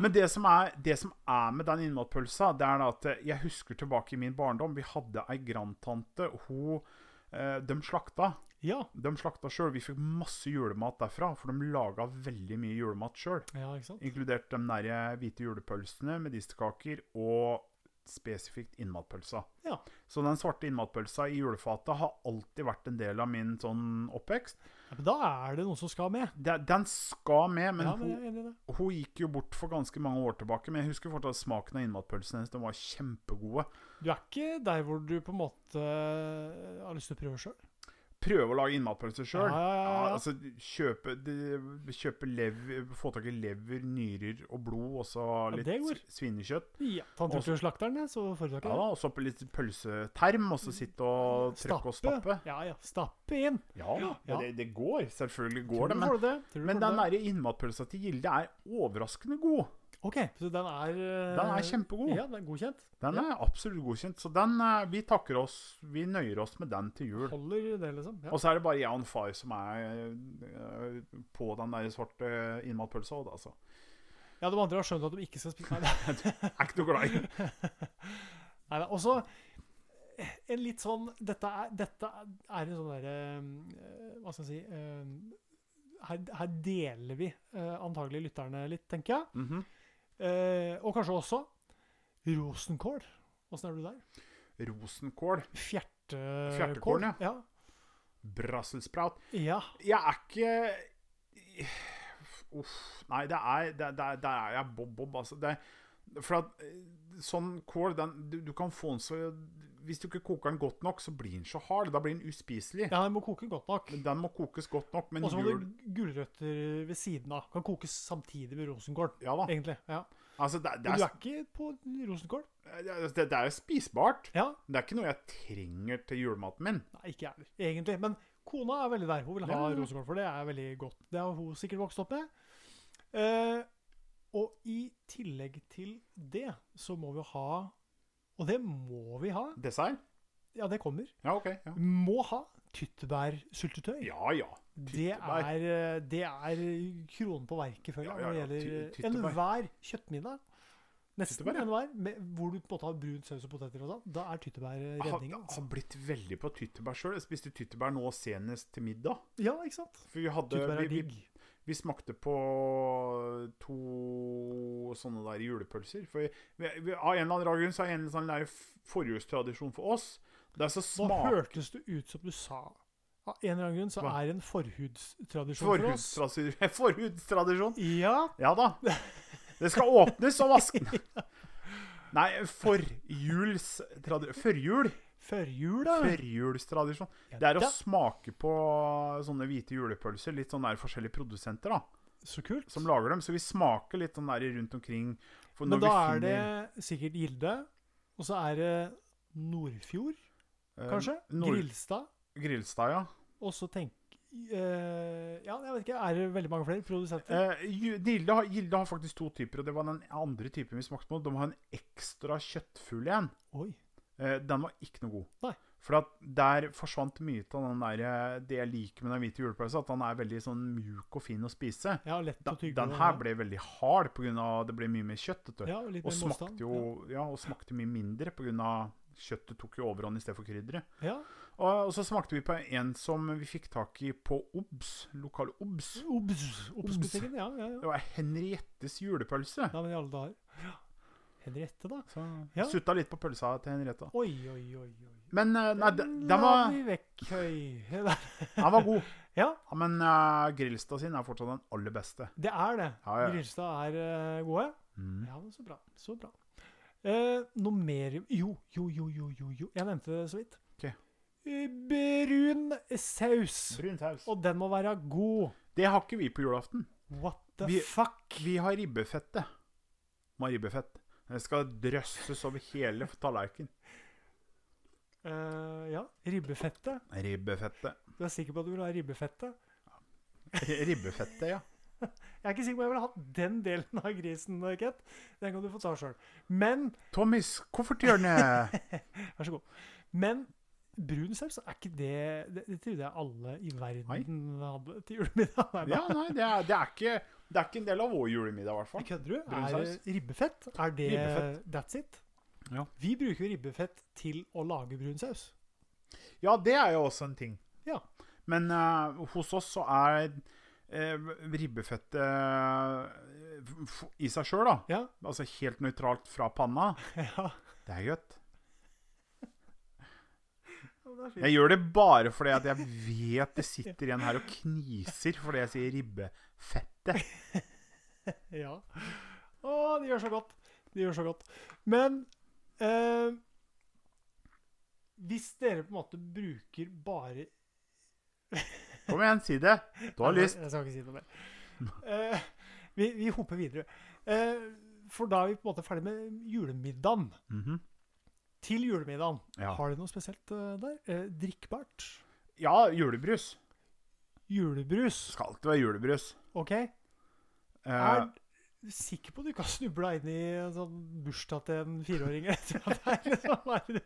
Speaker 2: Men det som er, det som er med den innmatpølsa, det er da at eh, jeg husker tilbake i min barndom. Vi hadde ei grandtante. Hun eh, De slakta.
Speaker 1: Ja.
Speaker 2: De slakta sjøl. Vi fikk masse julemat derfra, for de laga veldig mye julemat sjøl.
Speaker 1: ja, ikke sant?
Speaker 2: Inkludert de der hvite julepølsene, medisterkaker og spesifikt innmatpølsa.
Speaker 1: Ja.
Speaker 2: Så den svarte innmatpølsa i julefatet har alltid vært en del av min sånn oppvekst.
Speaker 1: Ja, men da er det noen som skal med.
Speaker 2: De- Den skal med, men,
Speaker 1: ja, men
Speaker 2: hun,
Speaker 1: jeg er enig i det.
Speaker 2: hun gikk jo bort for ganske mange år tilbake. Men jeg husker fortsatt smaken av innmatpølsene hennes. De var kjempegode.
Speaker 1: Du er ikke der hvor du på en måte eh, har lyst til å prøve sjøl?
Speaker 2: Prøve å lage innmatpølser sjøl.
Speaker 1: Ja, ja, ja, ja.
Speaker 2: altså, kjøpe, de- kjøpe lever, få tak i lever, nyrer og blod, og så
Speaker 1: Ja,
Speaker 2: litt
Speaker 1: det går.
Speaker 2: s- svinekjøtt.
Speaker 1: Ja. Tante
Speaker 2: Også-
Speaker 1: Ulf slakteren, jeg, så foretok
Speaker 2: Ja
Speaker 1: jeg
Speaker 2: da,
Speaker 1: det.
Speaker 2: og så på litt pølseterm, og så sitte og trykke og stappe.
Speaker 1: Ja ja. Stappe inn.
Speaker 2: Ja,
Speaker 1: Ja.
Speaker 2: Det, det går. Selvfølgelig
Speaker 1: Tror
Speaker 2: går det.
Speaker 1: du
Speaker 2: Men,
Speaker 1: får det. Tror du
Speaker 2: men
Speaker 1: får
Speaker 2: den
Speaker 1: det.
Speaker 2: derre innmatpølsa til Gilde er overraskende god.
Speaker 1: OK, så den er eh,
Speaker 2: Den er kjempegod.
Speaker 1: Ja, den er godkjent.
Speaker 2: Den er absolutt godkjent. Så den eh, Vi takker oss Vi nøyer oss med den til jul.
Speaker 1: Holder det, liksom. Ja.
Speaker 2: Og så er det bare jeg og en far som er eh, på den der svarte innmatpølsa. og det, Altså.
Speaker 1: ja, de andre har skjønt at de ikke skal spise Nei, det-
Speaker 2: Er ikke noe glad i.
Speaker 1: (laughs) Nei, nei. Og så en litt sånn Dette er, dette er en sånn derre eh, Hva skal jeg si eh, her, her deler vi eh, antagelig lytterne litt, tenker jeg.
Speaker 2: Mhm.
Speaker 1: Eh, og kanskje også rosenkål. Åssen er du der?
Speaker 2: Rosenkål.
Speaker 1: Fjerte-
Speaker 2: Fjertekål,
Speaker 1: kål? ja.
Speaker 2: Brasselsprout.
Speaker 1: Ja.
Speaker 2: Jeg er ikke Uff. Nei, det er Der det, er- det er jeg bob-bob, altså. Det, for at eh, sånn kål, den du, du kan få den så Hvis du ikke koker den godt nok, så blir den så hard. Da blir den uspiselig.
Speaker 1: ja, den må koke godt nok.
Speaker 2: Men Den må kokes godt nok, men
Speaker 1: Og så må
Speaker 2: jul
Speaker 1: du gulrøtter ved siden av. Kan kokes samtidig med rosenkål,
Speaker 2: Ja da.
Speaker 1: egentlig. Ja.
Speaker 2: Altså, det, det,
Speaker 1: Men du Ah.
Speaker 2: er,
Speaker 1: er ikke på rosenkål?
Speaker 2: det, det er jo spisbart.
Speaker 1: Ja.
Speaker 2: Det er ikke noe jeg trenger til julematen min.
Speaker 1: Nei, ikke jeg heller, egentlig. Men kona er veldig der. Hun vil ha
Speaker 2: Ja, ja, ja.
Speaker 1: rosenkål, for det er veldig godt. Det har hun sikkert vokst opp med. Eh, og i tillegg til det, så må vi ha Og det må vi ha.
Speaker 2: Dessert?
Speaker 1: Ja, det kommer.
Speaker 2: Ja, OK. Ja,
Speaker 1: Må ha tyttebærsyltetøy.
Speaker 2: ja. ja.
Speaker 1: det,
Speaker 2: tyttebær.
Speaker 1: er, eh, det er kronen på verket, føler jeg,
Speaker 2: Ja, ja, ja,
Speaker 1: når det
Speaker 2: ty-
Speaker 1: gjelder eh,
Speaker 2: tyttebær.
Speaker 1: enhver kjøttmiddag. Nesten
Speaker 2: Tyttebær, ja.
Speaker 1: enhver, med, hvor du på en måte har brun saus og poteter og sånn. Da er tyttebær
Speaker 2: Jeg har,
Speaker 1: redningen.
Speaker 2: har
Speaker 1: Altså.
Speaker 2: blitt veldig på tyttebær sjøl. Jeg spiste tyttebær nå senest til middag.
Speaker 1: Ja, ikke sant?
Speaker 2: For vi hadde
Speaker 1: Tyttebær
Speaker 2: vi,
Speaker 1: er
Speaker 2: vi,
Speaker 1: digg.
Speaker 2: Vi smakte på to sånne der julepølser. For vi, vi, av en eller annen rar grunn så er en sånn der forjulstradisjon for oss. Det er så
Speaker 1: Nå
Speaker 2: smart
Speaker 1: hørtes det ut som du sa Av en eller annen grunn så
Speaker 2: Hva?
Speaker 1: er det en forhudstradisjon for oss.
Speaker 2: forhudstradisjon. (laughs) forhudstradisjon.
Speaker 1: Ja,
Speaker 2: Ja da. Det skal åpnes og
Speaker 1: (laughs)
Speaker 2: vaskes. Nei, forjulstradi- Førjul?
Speaker 1: førjul, da.
Speaker 2: Førjulstradisjon.
Speaker 1: Ja,
Speaker 2: Det er å
Speaker 1: da.
Speaker 2: smake på sånne hvite julepølser. Litt sånn der forskjellige produsenter da,
Speaker 1: Så kult.
Speaker 2: som lager dem. Så vi smaker litt sånn der rundt omkring. For
Speaker 1: Men
Speaker 2: når
Speaker 1: da
Speaker 2: vi
Speaker 1: er det
Speaker 2: finner,
Speaker 1: sikkert Gilde. Og så er det Nordfjord,
Speaker 2: eh,
Speaker 1: kanskje?
Speaker 2: Nord
Speaker 1: Grilstad.
Speaker 2: Grilstad, ja.
Speaker 1: Og så tenk eh, Ja, jeg vet ikke. Er det veldig mange flere produsenter?
Speaker 2: Eh, ju- Gilde, har, Gilde har faktisk to typer, og det var den andre typen vi smakte på. De har en ekstra kjøttfull igjen.
Speaker 1: Oi.
Speaker 2: Eh, den var ikke noe god.
Speaker 1: Nei.
Speaker 2: For at der forsvant mye av den der, eh, det jeg liker med den hvite julepølsa, at den er veldig sånn mjuk og fin å spise.
Speaker 1: Ja, lett
Speaker 2: Da,
Speaker 1: å tygge.
Speaker 2: den
Speaker 1: på, ja.
Speaker 2: her ble veldig hard pga. det ble mye mer kjøtt. Vet du.
Speaker 1: ja, litt mer
Speaker 2: og,
Speaker 1: motstand.
Speaker 2: smakte jo, ja, og smakte mye mindre pga. kjøttet tok jo overhånd i stedet for krydderet.
Speaker 1: Ja.
Speaker 2: Og, og så smakte vi på en som vi fikk tak i på Obs, lokal Obs.
Speaker 1: ja. Obs! Obs-butikken. Ja, ja, ja.
Speaker 2: Det var Henriettes julepølse.
Speaker 1: Ja, men i alle dager. Ja. Henriette, da.
Speaker 2: Så
Speaker 1: Ja.
Speaker 2: sutta litt på pølsa til Henriette.
Speaker 1: Oi, oi, oi. oi.
Speaker 2: Men eh, nei, den, den,
Speaker 1: La
Speaker 2: var,
Speaker 1: vi vekk, høy. Der.
Speaker 2: den var god.
Speaker 1: Ja,
Speaker 2: Ja, men eh, Grilstad sin er fortsatt den aller beste.
Speaker 1: det er det.
Speaker 2: Ja, ja.
Speaker 1: Grilstad er eh, gode.
Speaker 2: Mm.
Speaker 1: Ja, men så bra. Så bra. Eh, noe mer Jo, jo, jo, jo, jo. jo. Jeg nevnte det så vidt.
Speaker 2: Ok.
Speaker 1: Eh, Brun saus.
Speaker 2: Brun saus.
Speaker 1: Og den må være god.
Speaker 2: Det har ikke vi på julaften.
Speaker 1: What the
Speaker 2: Vi-
Speaker 1: fuck?
Speaker 2: Vi har ribbefettet. Vi har ribbefett. Det skal drøsses over hele tallerkenen.
Speaker 1: Eh, ja, ribbefettet.
Speaker 2: (laughs) Ribbefettet.
Speaker 1: Du er sikker på at du vil ha ribbefettet?
Speaker 2: Ribbefettet, ja.
Speaker 1: Jeg er ikke sikker på at jeg ville hatt den delen av grisen, Ket. Den kan du få ta sjøl. Men
Speaker 2: Tommys kofferthjørne.
Speaker 1: Vær så god. Men brun saus, er ikke det Det, det trodde jeg alle i verden hadde til julemiddag. Nei,
Speaker 2: Ja, nei, det er, det, er ikke, det er ikke en del av vår julemiddag, i hvert
Speaker 1: men
Speaker 2: fall.
Speaker 1: Kødder du?
Speaker 2: Brun
Speaker 1: Er
Speaker 2: saus?
Speaker 1: det ribbefett? Er det
Speaker 2: Ribbefett.
Speaker 1: That's it?
Speaker 2: Ja.
Speaker 1: Vi bruker jo ribbefett til å lage brun saus.
Speaker 2: Ja, det er jo også en ting.
Speaker 1: Ja.
Speaker 2: Men eh, hos oss så er eh, ribbefettet eh, f- i seg sjøl, da.
Speaker 1: Ja.
Speaker 2: Altså helt nøytralt fra panna.
Speaker 1: ja.
Speaker 2: Det er godt.
Speaker 1: Det er fint.
Speaker 2: Jeg gjør det bare fordi at jeg vet det sitter en her og kniser fordi jeg sier ribbefette.
Speaker 1: Ja. Å, de gjør så godt. De gjør så godt. Men eh, hvis dere på en måte bruker bare
Speaker 2: Kom igjen, si det. Du har
Speaker 1: Nei,
Speaker 2: lyst.
Speaker 1: Jeg skal ikke si noe mer. Eh, vi, vi hopper videre. Eh, for da er vi på en måte ferdig med julemiddagen.
Speaker 2: Mhm.
Speaker 1: Til julemiddagen.
Speaker 2: Ja.
Speaker 1: Har de noe spesielt eh, der? Eh, drikkbart?
Speaker 2: ja, julebrus.
Speaker 1: Julebrus?
Speaker 2: Det skal alltid være julebrus.
Speaker 1: OK.
Speaker 2: Eh,
Speaker 1: Er du sikker på at du ikke har snubla inn i en sånn bursdag til en fireåring? eller et eller annet der, liksom? Hva er det?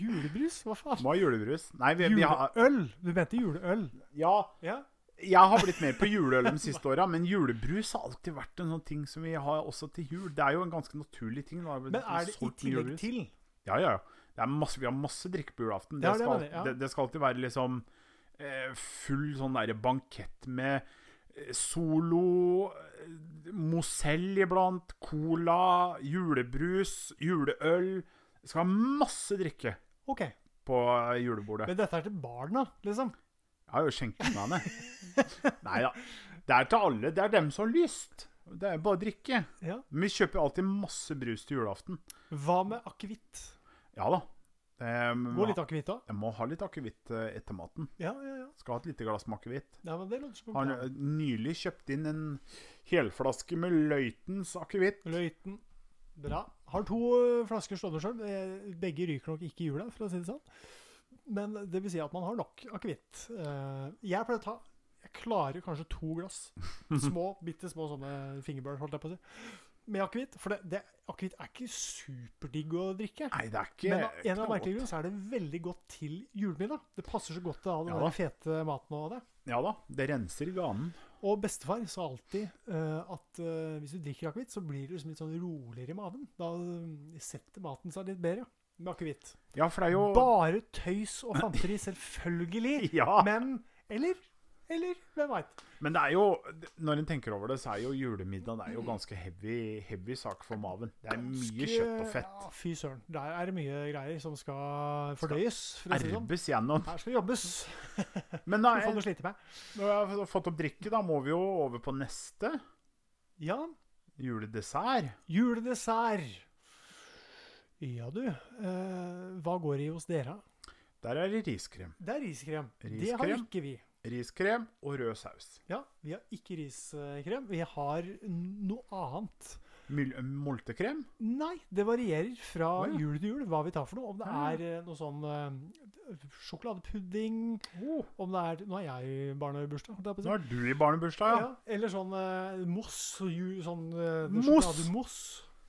Speaker 1: Julebrus? Hva faen?
Speaker 2: må ha julebrus. Nei, vi, vi har
Speaker 1: Juleøl? Du mente juleøl?
Speaker 2: Ja.
Speaker 1: Ja.
Speaker 2: Jeg har blitt mer på juleøl de siste åra, men julebrus har alltid vært en sånn ting som vi har også til jul. Det er jo en ganske naturlig ting. Da.
Speaker 1: Men er det i
Speaker 2: Solgt mye
Speaker 1: tillegg
Speaker 2: julebrus.
Speaker 1: til?
Speaker 2: Ja, ja, ja. Det er masse, vi har masse drikke på julaften. Det,
Speaker 1: Ja, det
Speaker 2: skal,
Speaker 1: mener jeg, ja.
Speaker 2: det, det skal alltid være liksom eh, full sånn derre bankett med eh, Solo, eh, Mozell iblant, cola, julebrus, juleøl Det skal være masse drikke
Speaker 1: OK.
Speaker 2: på eh, julebordet.
Speaker 1: Men dette er til barna, liksom?
Speaker 2: Jeg har jo skjenket meg det. Nei da. Det er til alle. Det er dem som har lyst. Det er bare å drikke.
Speaker 1: Ja.
Speaker 2: Men vi kjøper jo alltid masse brus til julaften.
Speaker 1: Hva med akevitt?
Speaker 2: Ja da. Um,
Speaker 1: Gå litt akevitt òg.
Speaker 2: jeg må ha litt akevitt eh, etter maten.
Speaker 1: Ja, ja, ja.
Speaker 2: Skal ha et lite glass med akevitt.
Speaker 1: Nei, men det låter som en
Speaker 2: Har
Speaker 1: plan.
Speaker 2: n- nylig kjøpt inn en helflaske med Løitens akevitt.
Speaker 1: Løiten. Bra. Har to ø, flasker stående sjøl. Begge ryker nok ikke i jula, for å si det sånn. Men det vil si at man har nok akevitt. Eh, Jeg pleier å ta Jeg klarer kanskje to glass.
Speaker 2: (laughs)
Speaker 1: Små, bitte små sånne fingerbørn, holdt jeg på å si. Med akevitt. For det, det, akevitt er ikke superdigg å drikke.
Speaker 2: Nei, det er ikke
Speaker 1: Men av en av
Speaker 2: knallgodt.
Speaker 1: merkelige grunner så er det veldig godt til julemiddag. Det passer så godt til all den
Speaker 2: Ja
Speaker 1: der fete maten og det.
Speaker 2: Ja da. Det renser i ganen.
Speaker 1: Og bestefar sa alltid eh, at eh, hvis du drikker akevitt, så blir du liksom litt sånn roligere i maven. Da eh, setter maten seg litt bedre med akevitt.
Speaker 2: Ja, for det er jo
Speaker 1: Bare tøys og fanteri, selvfølgelig.
Speaker 2: (laughs) Ja.
Speaker 1: Men Eller Eller hvem veit.
Speaker 2: Men det er jo, når en tenker over det, så er jo julemiddag det er jo ganske heavy, heavy sak for maven. Det er mye kjøtt og fett.
Speaker 1: Ja, fy søren. Der er det mye greier som skal fordøyes. For å si det sånn.
Speaker 2: Erbes
Speaker 1: (laughs)
Speaker 2: gjennom.
Speaker 1: Her skal det jobbes.
Speaker 2: Men da,
Speaker 1: Det får (laughs)
Speaker 2: er-
Speaker 1: du slite med.
Speaker 2: når jeg har fått opp drikke, da må vi jo over på neste
Speaker 1: Ja,
Speaker 2: juledessert.
Speaker 1: juledessert. Ja, du. Eh, hva går i hos dere?
Speaker 2: Der er det riskrem.
Speaker 1: Det er riskrem. Det har
Speaker 2: Riskrem.
Speaker 1: ikke vi.
Speaker 2: Riskrem og rød saus.
Speaker 1: Ja, Vi har ikke riskrem. Vi har noe annet.
Speaker 2: Mul- Multekrem.
Speaker 1: Nei, det varierer fra
Speaker 2: Å, ja. Ah.
Speaker 1: jul til jul hva vi tar for noe. Om det
Speaker 2: Ja, ja.
Speaker 1: er eh, noe sånn eh, sjokoladepudding Om det er Nå er jeg i barnebursdag. holdt jeg på å si.
Speaker 2: Oh. Nå er du i barnebursdag, ja.
Speaker 1: Ja, eller sånn eh, mos. og ju- Sånn eh,
Speaker 2: Mos!
Speaker 1: sjokolademos.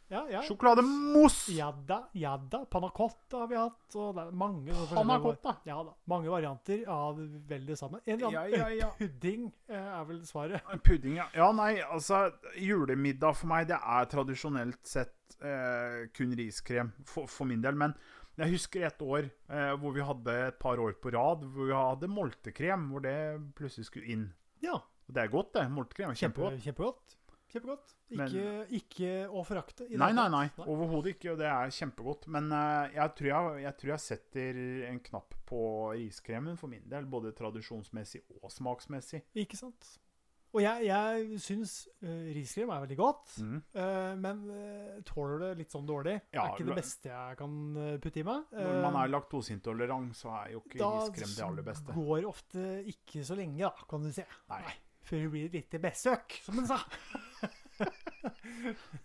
Speaker 1: Ja, ja.
Speaker 2: Sjokolademousse!
Speaker 1: Ja da, ja da. Panna cotta har vi hatt. Og det er mange sånne forskjellige-
Speaker 2: Panna cotta.
Speaker 1: Ja da. Mange varianter av vel det samme. En eller
Speaker 2: Ja,
Speaker 1: annen
Speaker 2: ja, ja.
Speaker 1: (laughs) pudding eh, er vel svaret.
Speaker 2: Pudding, ja. Ja, nei, altså Julemiddag for meg, det er tradisjonelt sett eh, kun riskrem, for, for min del. Men jeg husker et år eh, hvor vi hadde et par år på rad hvor vi hadde moltekrem, hvor det plutselig skulle inn.
Speaker 1: Ja.
Speaker 2: Og det er godt, det. Moltekrem er
Speaker 1: Kjempe,
Speaker 2: kjempegodt.
Speaker 1: kjempegodt. Kjempegodt. Ikke,
Speaker 2: Men-
Speaker 1: ikke å forakte. i det
Speaker 2: Nei,
Speaker 1: hele
Speaker 2: nei,
Speaker 1: tatt.
Speaker 2: nei. Overhodet ikke. Og det er kjempegodt. Men eh, jeg, tror jeg, jeg tror jeg setter en knapp på riskremen for min del. Både tradisjonsmessig og smaksmessig.
Speaker 1: Ikke sant? Og jeg, jeg syns eh, riskrem er veldig godt,
Speaker 2: Mhm.
Speaker 1: eh, men eh, tåler det litt sånn dårlig.
Speaker 2: Ja,
Speaker 1: er ikke det
Speaker 2: la-
Speaker 1: beste jeg kan eh, putte i meg.
Speaker 2: Når man
Speaker 1: Eh,
Speaker 2: er laktoseintolerant, så er jo ikke riskrem det aller beste.
Speaker 1: Da går det ofte ikke så lenge, da, kan du se.
Speaker 2: Nei.
Speaker 1: Før det blir et lite besøk, som en sa.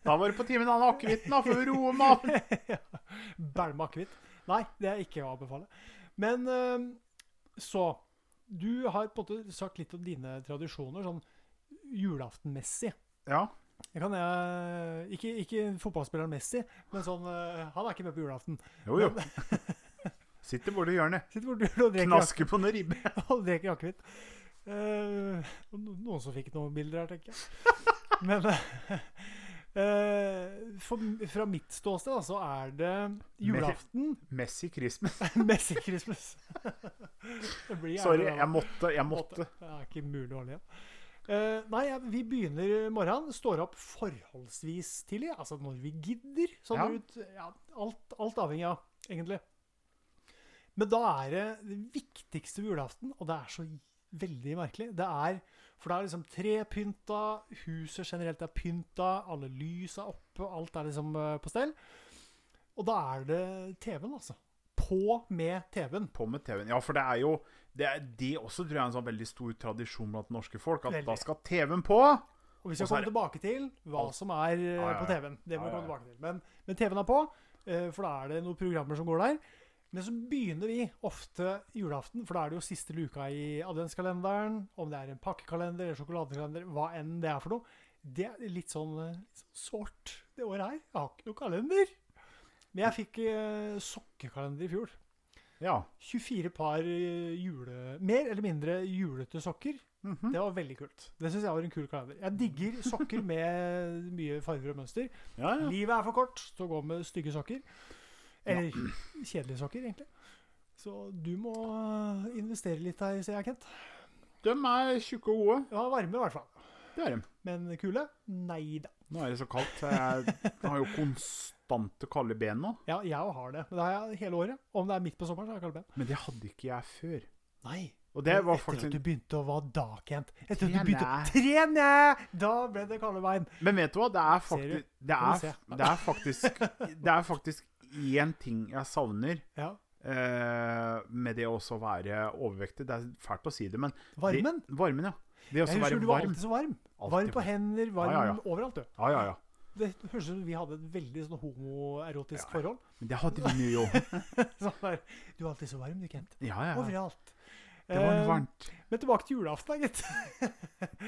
Speaker 2: Da var det på tide med en annen akevitt, da, for å roe maten.
Speaker 1: (laughs) Bælme akevitt. Nei, det er ikke å anbefale. Men eh, så Du har på en måte sagt litt om dine tradisjoner, sånn julaftenmessig.
Speaker 2: Ja.
Speaker 1: Det kan jeg Ikke, ikke fotballspilleren Messi, men sånn eh, Han er ikke med på julaften.
Speaker 2: Jo, jo.
Speaker 1: (laughs)
Speaker 2: Sitter borti hjørnet.
Speaker 1: Sitter borte og drikker ak-
Speaker 2: Knasker på noen ribbe.
Speaker 1: (laughs) og drikker akevitt. Eh, og no- noen som fikk noen bilder her, tenker jeg. Men eh, eh, for, fra mitt ståsted da, så er det julaften
Speaker 2: Messi Christmas.
Speaker 1: (laughs) Messi Christmas. Det blir gjerne
Speaker 2: Sorry,
Speaker 1: det, da.
Speaker 2: jeg måtte. Jeg måtte.
Speaker 1: Det er ikke mulig å holde igjen. Eh, nei, jeg- vi begynner morgenen. Står opp forholdsvis tidlig. Altså når vi gidder. Sånn
Speaker 2: Ja.
Speaker 1: ut ja, alt, alt avhengig av, egentlig. Men da er det det viktigste ved julaften, og det er så veldig merkelig Det er For da er liksom tre pynta, huset generelt er pynta, alle lys er oppe, alt er liksom eh, på stell. Og da er det TV-en, altså. På med TV-en.
Speaker 2: På med TV-en. Ja, for det er jo det, er, det også tror jeg er en sånn veldig stor tradisjon blant norske folk. At
Speaker 1: Veldig.
Speaker 2: da skal TV-en på.
Speaker 1: Og vi skal
Speaker 2: Og så er
Speaker 1: komme tilbake til hva
Speaker 2: Alt.
Speaker 1: som er eh,
Speaker 2: Ja, ja, ja.
Speaker 1: på TV-en. Det må vi
Speaker 2: Ja, ja,
Speaker 1: komme
Speaker 2: ja.
Speaker 1: tilbake til. Men, men TV-en er på, eh, for da er det noen programmer som går der. Men så begynner vi ofte julaften, for da er det jo siste luka i adventskalenderen. Om det er en pakkekalender eller sjokoladekalender, hva enn det er for noe. Det er litt sånn, eh, litt sånn sårt det året her. Jeg har ikke noen kalender. Men jeg fikk eh, sokkekalender i fjor.
Speaker 2: Ja.
Speaker 1: 24 par eh, jule, mer eller mindre julete sokker.
Speaker 2: Mhm.
Speaker 1: Det var veldig kult. Det syns jeg var en kul kalender. Jeg digger sokker med mye farger og mønster.
Speaker 2: ja, ja.
Speaker 1: Livet er for kort til å gå med stygge sokker. Eller kjedelige sokker, egentlig. Så du må eh, investere litt her, ser jeg, Kent.
Speaker 2: De er tjukke og gode.
Speaker 1: Ja, varme i hvert fall.
Speaker 2: Det er de.
Speaker 1: Men kule? Nei da.
Speaker 2: Nå er det så kaldt. så Jeg har jo konstante kalde ben nå.
Speaker 1: Ja, jeg òg har det. Men det har jeg hele året. Om det er midt på sommeren, så har jeg kaldt ben.
Speaker 2: Men det hadde ikke jeg før.
Speaker 1: Nei.
Speaker 2: Og det
Speaker 1: Etter
Speaker 2: var
Speaker 1: at
Speaker 2: faktisk
Speaker 1: du begynte å Hva da, Kent? Etter at du begynte å
Speaker 2: Trene.
Speaker 1: trene! Da ble det kalde bein.
Speaker 2: Men vet du hva? Det er
Speaker 1: Ser du?
Speaker 2: faktisk det
Speaker 1: Kan du
Speaker 2: er,
Speaker 1: se?
Speaker 2: det er faktisk Det er faktisk én ting jeg savner
Speaker 1: Ja.
Speaker 2: eh, med det å også være overvektig. Det er fælt å si det, men
Speaker 1: Varmen?
Speaker 2: Det, varmen, ja. Det
Speaker 1: Jeg
Speaker 2: å også
Speaker 1: husker
Speaker 2: være
Speaker 1: du var
Speaker 2: varm.
Speaker 1: alltid så varm.
Speaker 2: Alltid
Speaker 1: Varm på
Speaker 2: varm.
Speaker 1: hender, varm
Speaker 2: Ja, ja,
Speaker 1: overalt, du.
Speaker 2: Ja, ja, ja.
Speaker 1: Det høres ut som vi hadde et veldig sånn homoerotisk
Speaker 2: Ja.
Speaker 1: forhold. (laughs)
Speaker 2: Men det hadde vi mye jo.
Speaker 1: Sånn der, du er alltid så varm, du, Kent.
Speaker 2: Ja, ja. ja.
Speaker 1: Overalt.
Speaker 2: Det var
Speaker 1: Eh,
Speaker 2: varmt.
Speaker 1: Men tilbake til julaften, da, gitt. (laughs)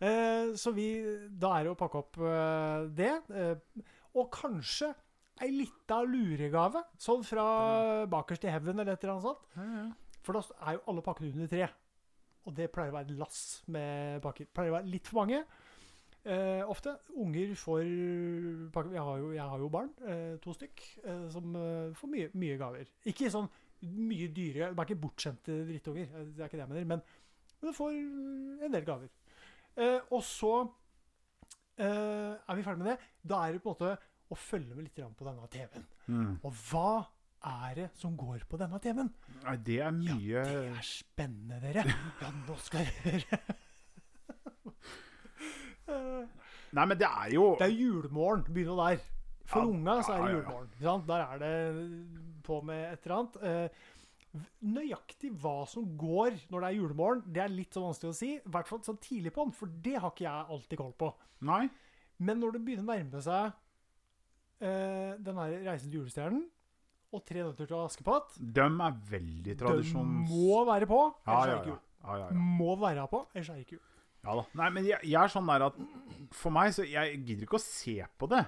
Speaker 1: Eh, så vi Da er det å pakke opp eh, det. eh, Og kanskje ei lita luregave, sånn fra bakerst i heaven eller et eller annet sånt.
Speaker 2: Ja, ja.
Speaker 1: For da er jo alle pakkene under tre. Og det pleier å være et lass med pakker. Pleier å være litt for mange. Eh, ofte. Unger får pakker. Jeg har jo, jeg har jo barn, eh, to stykk, eh, som eh, får mye, mye gaver. Ikke sånn mye dyre De er ikke bortskjemte drittunger, eh, det er ikke det jeg mener. Men Men du får en del gaver. Eh, og så eh, er vi ferdig med det. Da er det på en måte å følge med litt grann på denne TV-en.
Speaker 2: Mm.
Speaker 1: Og hva er det som går på denne TV-en?
Speaker 2: Nei, det er mye
Speaker 1: Det er spennende, dere. Ja, nå skal dere høre. Eh,
Speaker 2: Nei, men det er jo
Speaker 1: Det er julemorgen. Begynner jo der. For
Speaker 2: Ja,
Speaker 1: unga så er
Speaker 2: ja,
Speaker 1: det
Speaker 2: ja, ja.
Speaker 1: julemorgen. Ikke sant? Der er det på med et eller annet. Eh, v- Nøyaktig hva som går når det er julemorgen, det er litt så vanskelig å si. I hvert fall sånn tidlig på den, for det har ikke jeg alltid koll på.
Speaker 2: Nei.
Speaker 1: Men når det begynner å nærme seg eh, den her Reisen til julestjernen og Tre nøtter til Askepott
Speaker 2: Dem er veldig
Speaker 1: Den
Speaker 2: tradisjons...
Speaker 1: må være på,
Speaker 2: ja,
Speaker 1: ellers er
Speaker 2: ja,
Speaker 1: det ikke
Speaker 2: ja.
Speaker 1: jul.
Speaker 2: ja, ja, ja.
Speaker 1: Må være på, ellers er det ikke jul.
Speaker 2: ja da. Nei, men jeg, jeg er sånn der at For meg, så Jeg gidder ikke å se på det.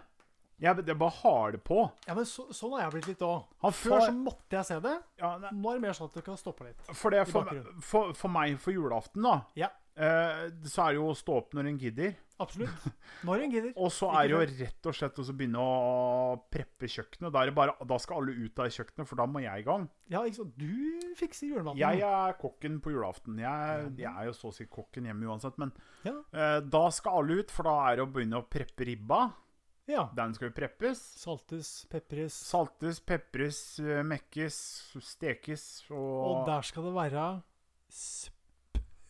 Speaker 2: Jeg, jeg bare har det på.
Speaker 1: Ja, men så, sånn har jeg blitt litt òg.
Speaker 2: Han
Speaker 1: Før så
Speaker 2: får
Speaker 1: måtte jeg se det.
Speaker 2: ja, nei,
Speaker 1: Nå er det mer sånn at det kan stoppe litt.
Speaker 2: for, det,
Speaker 1: I
Speaker 2: for,
Speaker 1: bakgrunnen.
Speaker 2: for, for meg, for julaften, da,
Speaker 1: Ja,
Speaker 2: eh, så er det jo å stå opp når en gidder. (laughs)
Speaker 1: absolutt. Når en gidder.
Speaker 2: Og så
Speaker 1: Ikke
Speaker 2: er det jo rett og slett å så begynne å preppe kjøkkenet. Da, er det bare, da skal alle ut av kjøkkenet, for da må jeg i gang.
Speaker 1: Ja, ikke sant. Du fikser julematen.
Speaker 2: Jeg er kokken på julaften. Jeg, jeg er jo så å si kokken hjemme uansett, men
Speaker 1: Ja.
Speaker 2: eh, da skal alle ut, for da er det å begynne å preppe ribba.
Speaker 1: ja.
Speaker 2: Den skal jo preppes.
Speaker 1: Saltes, pepres,
Speaker 2: Saltes, pepres, eh, mekkes, stekes
Speaker 1: og
Speaker 2: og,
Speaker 1: der skal det være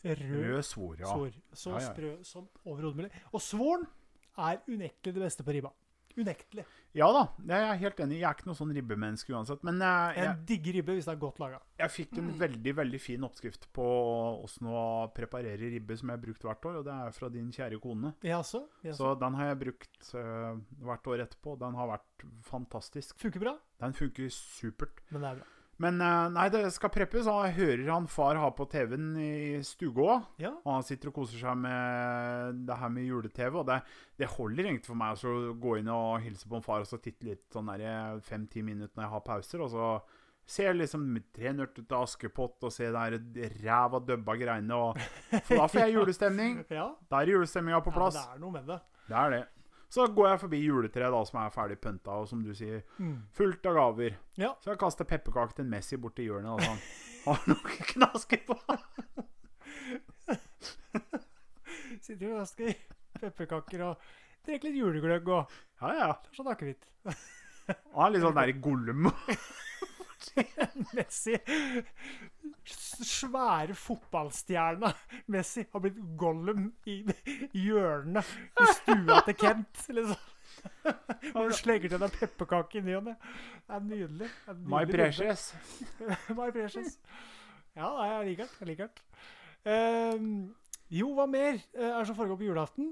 Speaker 1: sprø
Speaker 2: rød svor. Ja.
Speaker 1: svor. Så
Speaker 2: Ja, ja.
Speaker 1: sprø som overhodet mulig. Og svoren er unektelig det beste på ribba. Unektelig.
Speaker 2: ja da, jeg er helt enig. Jeg er ikke noe sånn ribbemenneske uansett. Men eh, jeg,
Speaker 1: En digg ribbe hvis det er godt laga.
Speaker 2: Jeg fikk en veldig veldig fin oppskrift på åssen å preparere ribbe som jeg har brukt hvert år, og det er fra din kjære kone.
Speaker 1: Jaså? jaså.
Speaker 2: Så den har jeg brukt eh, hvert år etterpå. Den har vært fantastisk.
Speaker 1: Funker bra,
Speaker 2: Den funker supert.
Speaker 1: men det er bra.
Speaker 2: Men eh, nei, det skal preppes. og Jeg hører han far har på TV-en i stua.
Speaker 1: Ja.
Speaker 2: Og han sitter og koser seg med det her med jule-TV. Og det, det holder egentlig for meg altså, å gå inn og hilse på en far og så titte litt sånn der fem-ti minutter når jeg har pauser. Og så ser jeg liksom tre nøtter til Askepott og se det her ræva døbba greiene. Og,
Speaker 1: (laughs)
Speaker 2: for da får jeg julestemning.
Speaker 1: ja.
Speaker 2: Da er julestemninga på
Speaker 1: ja men
Speaker 2: plass.
Speaker 1: det er noe med det.
Speaker 2: Det er det. Så går jeg forbi juletreet da, som er ferdig pynta, og som du sier,
Speaker 1: Mm.
Speaker 2: fullt av gaver.
Speaker 1: Ja.
Speaker 2: Så jeg kaster pepperkaker til en Messi borti hjørnet. Altså. Han har nok knasker på.
Speaker 1: (laughs) Sitter og vasker pepperkaker og drikker litt julegløgg og
Speaker 2: Ja, ja.
Speaker 1: sånn akevitt.
Speaker 2: Han er litt sånn der Gollum.
Speaker 1: Messi, s- svære fotballstjerna Messi, har blitt Gollum i hjørnet i stua til Kent. Liksom.
Speaker 2: (laughs)
Speaker 1: Hvor du slenger til deg pepperkake i ny og ne. Det er nydelig. Det er nydelig
Speaker 2: My
Speaker 1: bilde.
Speaker 2: precious.
Speaker 1: (laughs) My precious. Ja, nei, jeg liker den. Jeg liker den. Ehm, jo, hva mer eh, er det som foregår på julaften?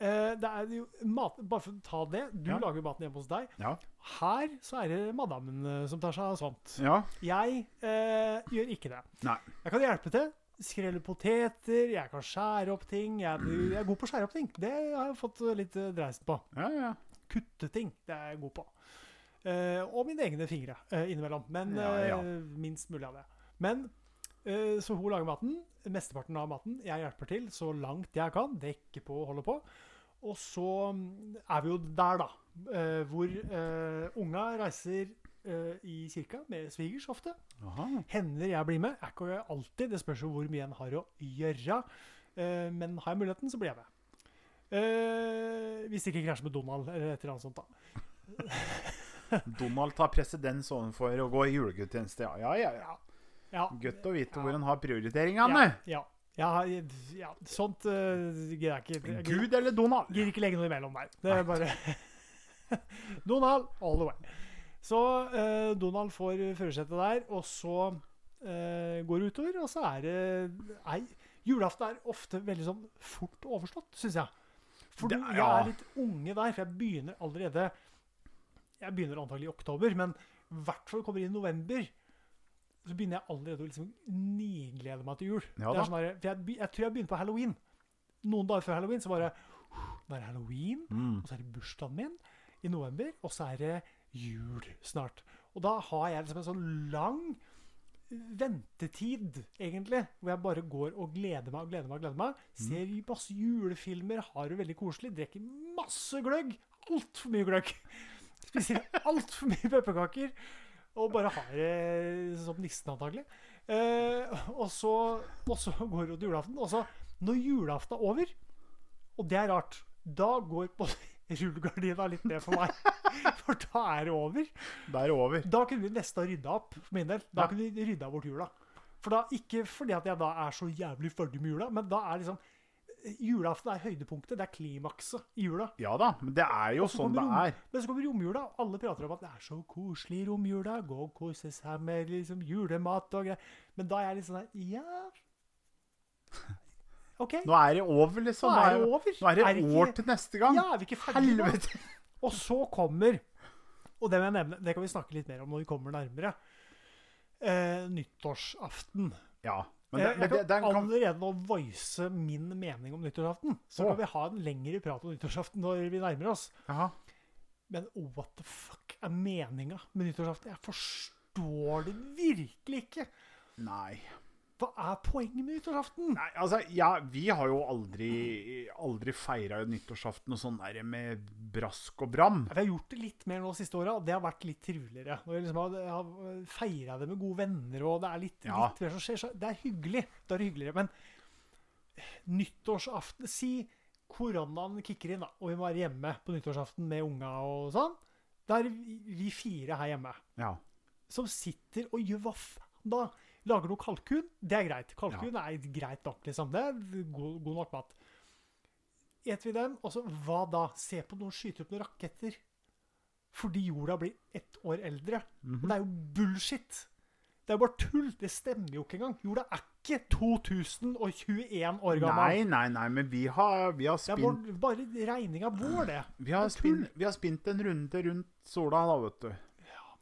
Speaker 1: Eh, det er jo mat, Bare for å ta det. Du
Speaker 2: Ja.
Speaker 1: lager jo maten hjemme hos deg.
Speaker 2: Ja.
Speaker 1: Her så er det madammen eh, som tar seg av sånt.
Speaker 2: Ja.
Speaker 1: Jeg eh, gjør ikke det.
Speaker 2: Nei.
Speaker 1: Jeg kan hjelpe til. Skrelle poteter, jeg kan skjære opp ting. Jeg, jeg er god på å skjære opp ting. Det har jeg fått eh, litt eh, dreisen på
Speaker 2: Ja, ja.
Speaker 1: kutte ting. Det er jeg god på. Eh, og mine egne fingre eh, innimellom. Men
Speaker 2: Ja, ja.
Speaker 1: eh, minst mulig av det. Men eh, Så hun lager maten. Mesteparten av maten. Jeg hjelper til så langt jeg kan. Dekker på og holder på. Og så mm, er vi jo der, da. eh, hvor eh, unga reiser eh, i kirka med svigers ofte.
Speaker 2: Aha.
Speaker 1: Hender jeg blir med. Er ikke alltid. Det spørs jo hvor mye en har å gjøre. Eh, men har jeg muligheten, så blir jeg med. Eh, hvis det ikke krasjer med Donald eller et eller annet sånt, da.
Speaker 2: Donald tar presedens overfor å gå i julegudstjeneste. Ja, ja, ja. ja.
Speaker 1: Ja.
Speaker 2: Godt å vite
Speaker 1: Ja.
Speaker 2: hvor han har prioriteringene.
Speaker 1: Ja. ja. ja, ja sånt uh, gidder jeg ikke. Jeg gidder-
Speaker 2: Gud eller Donald?
Speaker 1: gidder ikke legge noe imellom der. Det er bare (laughs) Donald all the way. Så eh, Donald får førersetet der, og så eh, går det utover, og så er det Nei, julaften er ofte veldig sånn fort overstått, syns jeg. For
Speaker 2: Det-
Speaker 1: du- jeg
Speaker 2: ja.
Speaker 1: er litt unge der, for jeg begynner allerede Jeg begynner antagelig i oktober, men i hvert fall kommer inn i november. Så begynner jeg allerede å liksom niglede meg til jul.
Speaker 2: Ja
Speaker 1: det
Speaker 2: da.
Speaker 1: er sånn der, for jeg, be- jeg tror jeg begynte på halloween. Noen dager før halloween så bare Nå er det halloween,
Speaker 2: Mm.
Speaker 1: og så er det bursdagen min i november, og så er det jul snart. Og da har jeg liksom en sånn lang ventetid, egentlig, hvor jeg bare går og gleder meg og gleder meg. og gleder meg. Ser masse julefilmer, har det veldig koselig, drikker masse gløgg. Altfor mye gløgg. (laughs) Spiser altfor mye pepperkaker. Og bare har det som nissen, antagelig. Eh, og, så, og så går det til julaften. Og så, når julaften er over, og det er rart, da går på (laughs) rullegardina litt ned
Speaker 2: (laughs)
Speaker 1: for meg. For da er det over.
Speaker 2: Da er det over.
Speaker 1: Da kunne vi nesten ha rydda opp, for min del. Da
Speaker 2: Ja.
Speaker 1: kunne vi rydda bort jula. For da, Ikke fordi at jeg da er så jævlig ferdig med jula, men da er liksom Julaften er høydepunktet. Det er klimakset i jula.
Speaker 2: Ja da, men det er jo
Speaker 1: Så
Speaker 2: sånn
Speaker 1: kommer
Speaker 2: det
Speaker 1: rom-
Speaker 2: er.
Speaker 1: Men så kommer romjula, og alle prater om at det er så koselig i romjula. Gå og kose seg med liksom julemat og greier. Men da er jeg litt sånn der Ja.
Speaker 2: (laughs)
Speaker 1: OK,
Speaker 2: Nå er det over, liksom.
Speaker 1: nå
Speaker 2: Nå
Speaker 1: er det
Speaker 2: er,
Speaker 1: over.
Speaker 2: nå er det
Speaker 1: ikke-
Speaker 2: år til neste gang.
Speaker 1: Ja, er vi ikke ferdige nå?
Speaker 2: Helvete!
Speaker 1: Og så kommer Og det må jeg nevne, det kan vi snakke litt mer om når vi kommer nærmere. Eh, nyttårsaften.
Speaker 2: Ja. Men, det,
Speaker 1: Eh,
Speaker 2: men det,
Speaker 1: jeg
Speaker 2: den
Speaker 1: kan
Speaker 2: kan
Speaker 1: allerede nå voice min mening om nyttårsaften. Så
Speaker 2: Å.
Speaker 1: kan vi ha en lengre prat om nyttårsaften når vi nærmer oss.
Speaker 2: Jaha.
Speaker 1: Men what the fuck er meninga med nyttårsaften? Jeg forstår det virkelig ikke.
Speaker 2: Nei.
Speaker 1: Hva er poenget med nyttårsaften?
Speaker 2: Nei, altså, ja, vi har jo aldri, aldri feira nyttårsaften og sånn der med brask og bram.
Speaker 1: Vi har gjort det litt mer nå siste året, og det har vært litt triveligere. Når vi liksom har, har feira det med gode venner, og det er litt,
Speaker 2: Ja.
Speaker 1: litt mer som skjer, så det er hyggelig. Da er det hyggeligere. Men nyttårsaften Si koronaen kicker inn, da, og vi må være hjemme på nyttårsaften med unga og sånn. Da er vi vi fire her hjemme
Speaker 2: Ja.
Speaker 1: som sitter og gjør hva faen da? Lager noe kalkun, det er greit. Kalkun er greit nok, liksom. Det er god, god nok mat. Eter vi den, og så hva da? Se på noen skyte opp noen raketter. Fordi jorda blir ett år eldre. Og det er jo bullshit. Det er jo bare tull. Det stemmer jo ikke engang. Jorda er ikke 2021 år gammel.
Speaker 2: Nei, nei, nei, men vi har, vi har
Speaker 1: Det er
Speaker 2: spint
Speaker 1: vår, bare regninga vår, det.
Speaker 2: vi har,
Speaker 1: det er tull.
Speaker 2: spinn, vi har spint en runde rundt sola, da, vet du.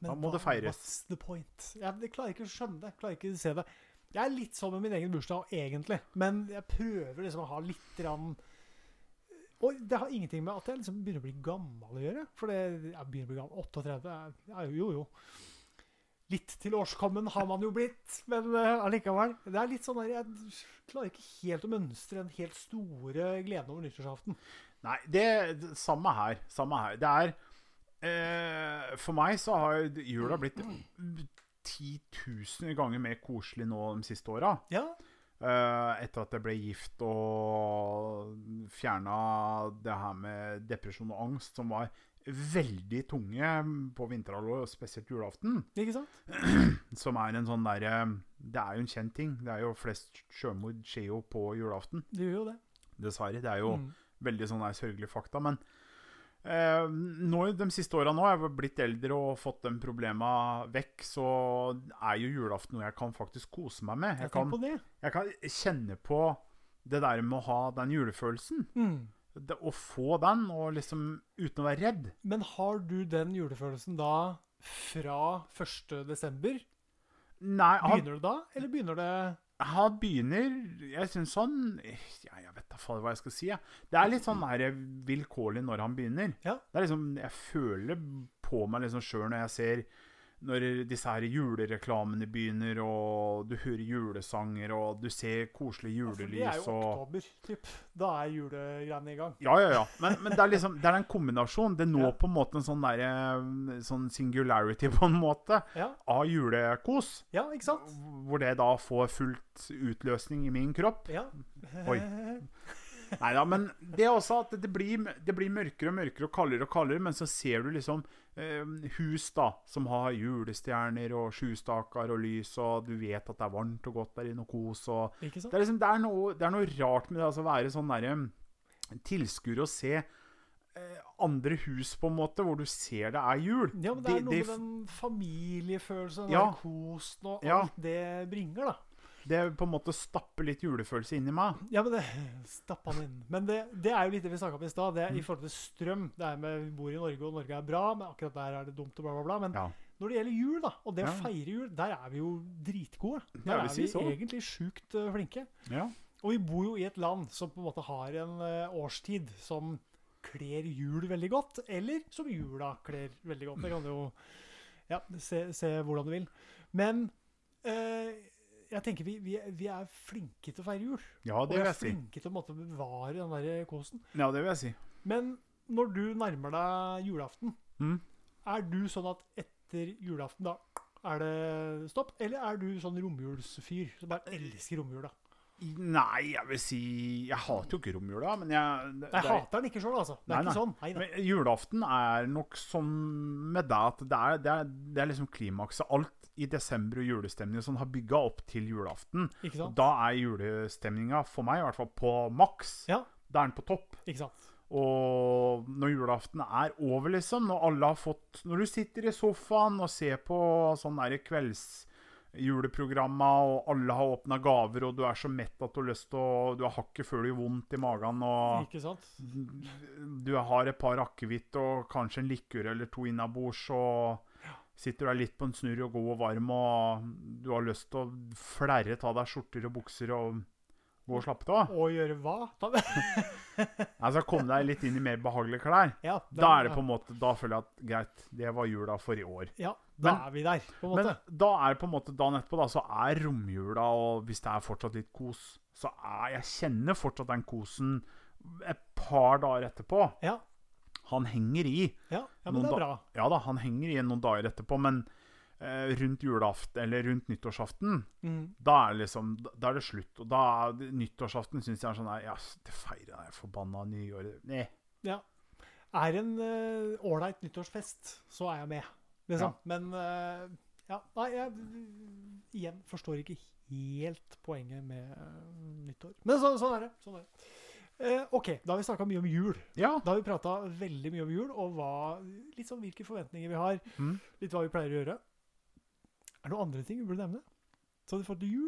Speaker 1: Men
Speaker 2: Da må det
Speaker 1: hva-
Speaker 2: feires.
Speaker 1: What's the point? Jeg, jeg klarer ikke å skjønne det. jeg klarer ikke å se det. Jeg er litt sånn med min egen bursdag, egentlig. Men jeg prøver liksom å ha litt grann Og det har ingenting med at jeg liksom begynner å bli gammel å gjøre. For det, jeg begynner å bli gammel. 38 er, er jo, jo jo. Litt til årskommen har man jo blitt, men eh, allikevel. Det er litt sånn der, Jeg klarer ikke helt å mønstre den helt store gleden over nyttårsaften.
Speaker 2: Nei, det, det samme her. Samme her. Det er eh, For meg så har jula blitt 10 000 ganger mer koselig nå de siste åra.
Speaker 1: Ja,
Speaker 2: Eh, etter at jeg ble gift og fjerna det her med depresjon og angst, som var veldig tunge på vinterhalvåret, og spesielt julaften.
Speaker 1: ikke sant?
Speaker 2: Som er en sånn derre Det er jo en kjent ting. Det er jo flest sjømord skjer jo på julaften.
Speaker 1: Det gjør jo det.
Speaker 2: Dessverre. Det er jo
Speaker 1: Mm.
Speaker 2: veldig sånn der sørgelige fakta. Men eh, nå, de siste åra nå, jeg har blitt eldre og fått de problema vekk, så er jo julaften noe jeg kan faktisk kose meg med.
Speaker 1: Jeg
Speaker 2: Jeg kan,
Speaker 1: tenker på det.
Speaker 2: jeg kan kjenne på det der med å ha den julefølelsen.
Speaker 1: Mm.
Speaker 2: Det, å få den, og liksom uten å være redd.
Speaker 1: Men har du den julefølelsen da fra 1. desember?
Speaker 2: Nei, han,
Speaker 1: Begynner det da, eller begynner det
Speaker 2: han begynner Jeg syns han ja, Jeg vet da faen hva jeg skal si. Jeg. Det er litt sånn der vilkårlig når han begynner.
Speaker 1: Ja.
Speaker 2: Det er liksom, Jeg føler på meg liksom sjøl når jeg ser når disse her julereklamene begynner, og du hører julesanger, og du ser koselige
Speaker 1: Altså, Det er
Speaker 2: julelys
Speaker 1: jo
Speaker 2: og
Speaker 1: oktober, typ. Da er julegreiene i gang.
Speaker 2: Ja, ja, ja. Men, men det er liksom Det er en kombinasjon. Det når
Speaker 1: Ja.
Speaker 2: på en måte en sånn der, eh, Sånn singularity, (laughs) på en måte,
Speaker 1: Ja,
Speaker 2: av julekos.
Speaker 1: ja ikke sant?
Speaker 2: Hvor det da får fullt utløsning i min kropp.
Speaker 1: Ja.
Speaker 2: Oi. Nei da, men det er også at det blir, det blir mørkere og mørkere og kaldere og kaldere, men så ser du liksom eh, hus da, som har julestjerner og sjustaker og lys, og du vet at det er varmt og godt der inne og kos og
Speaker 1: (laughs) Ikke sant?
Speaker 2: det er, liksom, det, er noe, det er noe rart med det altså, å være sånn der, eh, tilskuer og se eh, andre hus, på en måte, hvor du ser det er jul.
Speaker 1: Ja, men det
Speaker 2: De-
Speaker 1: er noe
Speaker 2: de
Speaker 1: med den familiefølelsen, den
Speaker 2: Ja.
Speaker 1: der kosen og
Speaker 2: Ja.
Speaker 1: alt det bringer, da.
Speaker 2: f- det på en måte stapper litt julefølelse inni meg.
Speaker 1: Ja, men det (laughs) Stapp han inn. Men det, det er jo litt det vi snakka om i stad, det er i
Speaker 2: Mm.
Speaker 1: forhold til strøm. Det er med Vi bor i Norge, og Norge er bra, men akkurat der er det dumt og bla, bla, bla. Men
Speaker 2: Ja.
Speaker 1: Når det gjelder jul, da, og det å
Speaker 2: Ja.
Speaker 1: feire jul, der er vi jo dritgode. Der
Speaker 2: jeg vil
Speaker 1: er
Speaker 2: si
Speaker 1: vi
Speaker 2: så.
Speaker 1: egentlig sjukt eh, flinke.
Speaker 2: Ja.
Speaker 1: Og vi bor jo i et land som på en måte har en eh, årstid som kler jul veldig godt, eller som jula kler veldig godt. Det kan du jo ja, se, se hvordan du vil. Men eh, jeg tenker vi, vi, vi er flinke til å feire jul.
Speaker 2: ja,
Speaker 1: Og vi
Speaker 2: det vil
Speaker 1: er
Speaker 2: jeg si.
Speaker 1: flinke til å på en måte, bevare den der kosen.
Speaker 2: Ja, det vil jeg si.
Speaker 1: Men når du nærmer deg julaften,
Speaker 2: Mm.
Speaker 1: er du sånn at etter julaften da Er det stopp? Eller er du sånn romjulsfyr som bare elsker romjula?
Speaker 2: Nei, jeg vil si Jeg hater jo ikke romjula, men jeg det-
Speaker 1: Jeg
Speaker 2: det er-
Speaker 1: hater den ikke sjøl, altså. Det
Speaker 2: Nei,
Speaker 1: er ikke
Speaker 2: nei.
Speaker 1: sånn. Nei, nei.
Speaker 2: Men julaften er nok som med deg at det er, det er, det er liksom klimakset. Alt i desember og julestemningen som har bygga opp til julaften.
Speaker 1: Ikke sant?
Speaker 2: Da er julestemninga, for meg i hvert fall, på maks.
Speaker 1: Ja,
Speaker 2: Da er den på topp.
Speaker 1: ikke sant.
Speaker 2: Og når julaften er over, liksom, når alle har fått Når du sitter i sofaen og ser på sånne der kveldsjuleprogramma, og alle har åpna gaver, og du er så mett at du har lyst til å Du har hakket før du gjør vondt i magen, og
Speaker 1: Ikke sant?
Speaker 2: du har et par akevitt og kanskje en likør eller to innabords, og sitter du der litt på en snurr og god og varm, og du har lyst til å flerre av deg skjorter og bukser og gå og slappe av.
Speaker 1: Å gjøre hva? Ta det. (laughs)
Speaker 2: Altså, kom deg litt inn i mer behagelige klær.
Speaker 1: Ja,
Speaker 2: Da er det på en måte, da føler jeg at greit, det var jula for i år.
Speaker 1: Ja, da
Speaker 2: Men-
Speaker 1: er vi der, på en
Speaker 2: Men
Speaker 1: måte.
Speaker 2: da er det på en måte dagen etterpå, da, så er romjula, og hvis det er fortsatt litt kos, så er jeg kjenner fortsatt den kosen et par dager etterpå.
Speaker 1: Ja,
Speaker 2: Han henger i.
Speaker 1: ja, ja men
Speaker 2: Noen
Speaker 1: det er
Speaker 2: da-
Speaker 1: bra.
Speaker 2: Ja da, han henger i noen dager etterpå, men eh, rundt julaften, eller rundt nyttårsaften,
Speaker 1: Mm.
Speaker 2: da er det liksom, da er det slutt. Og da er det- nyttårsaften synes jeg er sånn, der, ja, det feirer jeg forbanna nyåret. Nei.
Speaker 1: Ja. Er en eh, ålreit nyttårsfest, så er jeg med. Liksom. Men eh, ja, nei, jeg eh, igjen forstår ikke helt poenget med eh, nyttår. Men så, sånn er det. Sånn er det. Eh, OK, da har vi snakka mye om jul.
Speaker 2: Ja,
Speaker 1: Da har vi prata veldig mye om jul, og hva, litt sånn hvilke forventninger vi har.
Speaker 2: Mhm.
Speaker 1: Litt hva vi pleier å gjøre. Er det noen andre ting vi burde nevne? Så hadde du fått jul?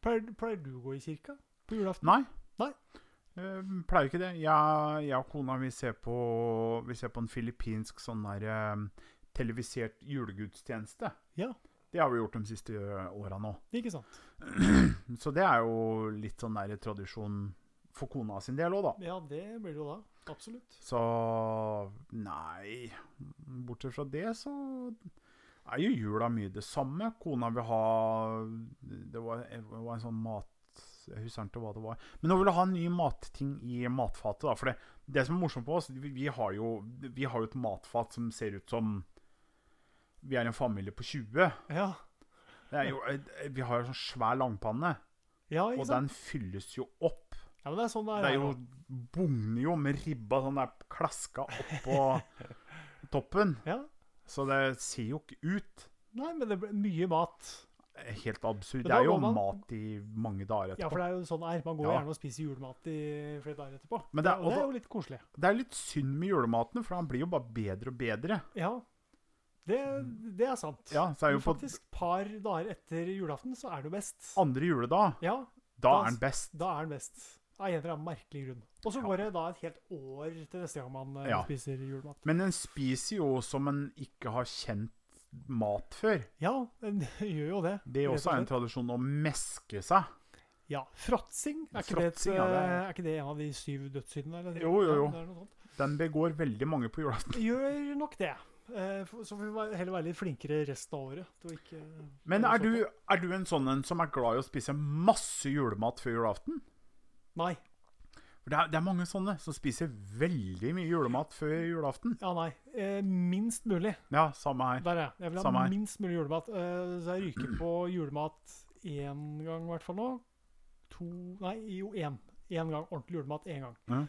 Speaker 1: Pleier, pleier du å gå i kirka på julaften?
Speaker 2: Nei.
Speaker 1: Nei.
Speaker 2: Eh, pleier ikke det. Jeg, jeg og kona vi ser på, vi ser på en filippinsk sånn der eh, televisert julegudstjeneste.
Speaker 1: Ja.
Speaker 2: Det har vi gjort de siste åra nå.
Speaker 1: Ikke sant?
Speaker 2: Så det er jo litt sånn der tradisjon for kona sin del òg, da.
Speaker 1: Ja, det blir det jo da. Absolutt.
Speaker 2: Så nei Bortsett fra det, så er jo jula mye det samme. Kona vil ha Det var, det var en sånn mat... Jeg husker ikke hva det var. Men hun ville ha en ny matting i matfatet. da, For det, det som er morsomt på oss, vi, vi, har jo, vi har jo et matfat som ser ut som Vi er en familie på 20.
Speaker 1: Ja,
Speaker 2: Det er jo, vi har jo sånn svær langpanne,
Speaker 1: ja
Speaker 2: og
Speaker 1: ikke sant?
Speaker 2: den fylles jo opp.
Speaker 1: Ja, men det er sånn det er.
Speaker 2: Det er
Speaker 1: her
Speaker 2: jo
Speaker 1: nå.
Speaker 2: bugner jo med ribba sånn der klaska
Speaker 1: (laughs)
Speaker 2: oppå toppen.
Speaker 1: Ja.
Speaker 2: Så det ser jo ikke ut
Speaker 1: Nei, men det blir mye mat.
Speaker 2: helt absurd.
Speaker 1: Men
Speaker 2: Det
Speaker 1: da
Speaker 2: er jo
Speaker 1: går man-
Speaker 2: mat i mange dager
Speaker 1: Ja,
Speaker 2: etterpå.
Speaker 1: for det er jo sånn det er. Man går
Speaker 2: Ja.
Speaker 1: gjerne og spiser julemat i flere dager etterpå.
Speaker 2: Men det er-
Speaker 1: og det
Speaker 2: og
Speaker 1: er jo litt koselig.
Speaker 2: Det er litt synd med julematen, for han blir jo bare bedre og bedre.
Speaker 1: Ja, det, det er sant.
Speaker 2: Ja, så er
Speaker 1: Men
Speaker 2: jo på
Speaker 1: faktisk, par dager etter julaften så er det jo best.
Speaker 2: andre juledag,
Speaker 1: Ja,
Speaker 2: da
Speaker 1: Da-
Speaker 2: er han best.
Speaker 1: da er den best. Av en eller annen merkelig grunn. Og så
Speaker 2: Ja.
Speaker 1: går det da et helt år til neste gang man eh,
Speaker 2: Ja.
Speaker 1: spiser julemat.
Speaker 2: Men en spiser jo som en ikke har kjent mat før.
Speaker 1: Ja, den gjør jo (laughs) det.
Speaker 2: Det er
Speaker 1: rett og
Speaker 2: også en
Speaker 1: slett.
Speaker 2: tradisjon å meske seg.
Speaker 1: Ja, Fråtsing, er, ikke det et,
Speaker 2: Fråtsing, ja, det er-
Speaker 1: eh, er ikke det en av de syv dødssyndene? eller?
Speaker 2: Jo, jo,
Speaker 1: Ja,
Speaker 2: jo.
Speaker 1: det er noe sånt.
Speaker 2: Den begår veldig mange på julaften.
Speaker 1: Gjør nok det. Eh, f- Så får vi være- heller være litt flinkere resten av året. til å ikke-
Speaker 2: Men
Speaker 1: gjøre
Speaker 2: er
Speaker 1: sånt.
Speaker 2: du, er du en sånn en som er glad i å spise masse julemat før julaften?
Speaker 1: Nei.
Speaker 2: For det er, det er mange sånne som spiser veldig mye julemat før julaften.
Speaker 1: Ja, nei. Eh, Minst mulig.
Speaker 2: Ja, samme her.
Speaker 1: Der er jeg. Jeg vil ha
Speaker 2: Samme her.
Speaker 1: minst mulig julemat. Eh, Så jeg ryker på julemat én gang i hvert fall nå. To Nei, jo, én. Én gang. Ordentlig julemat én gang.
Speaker 2: Ja.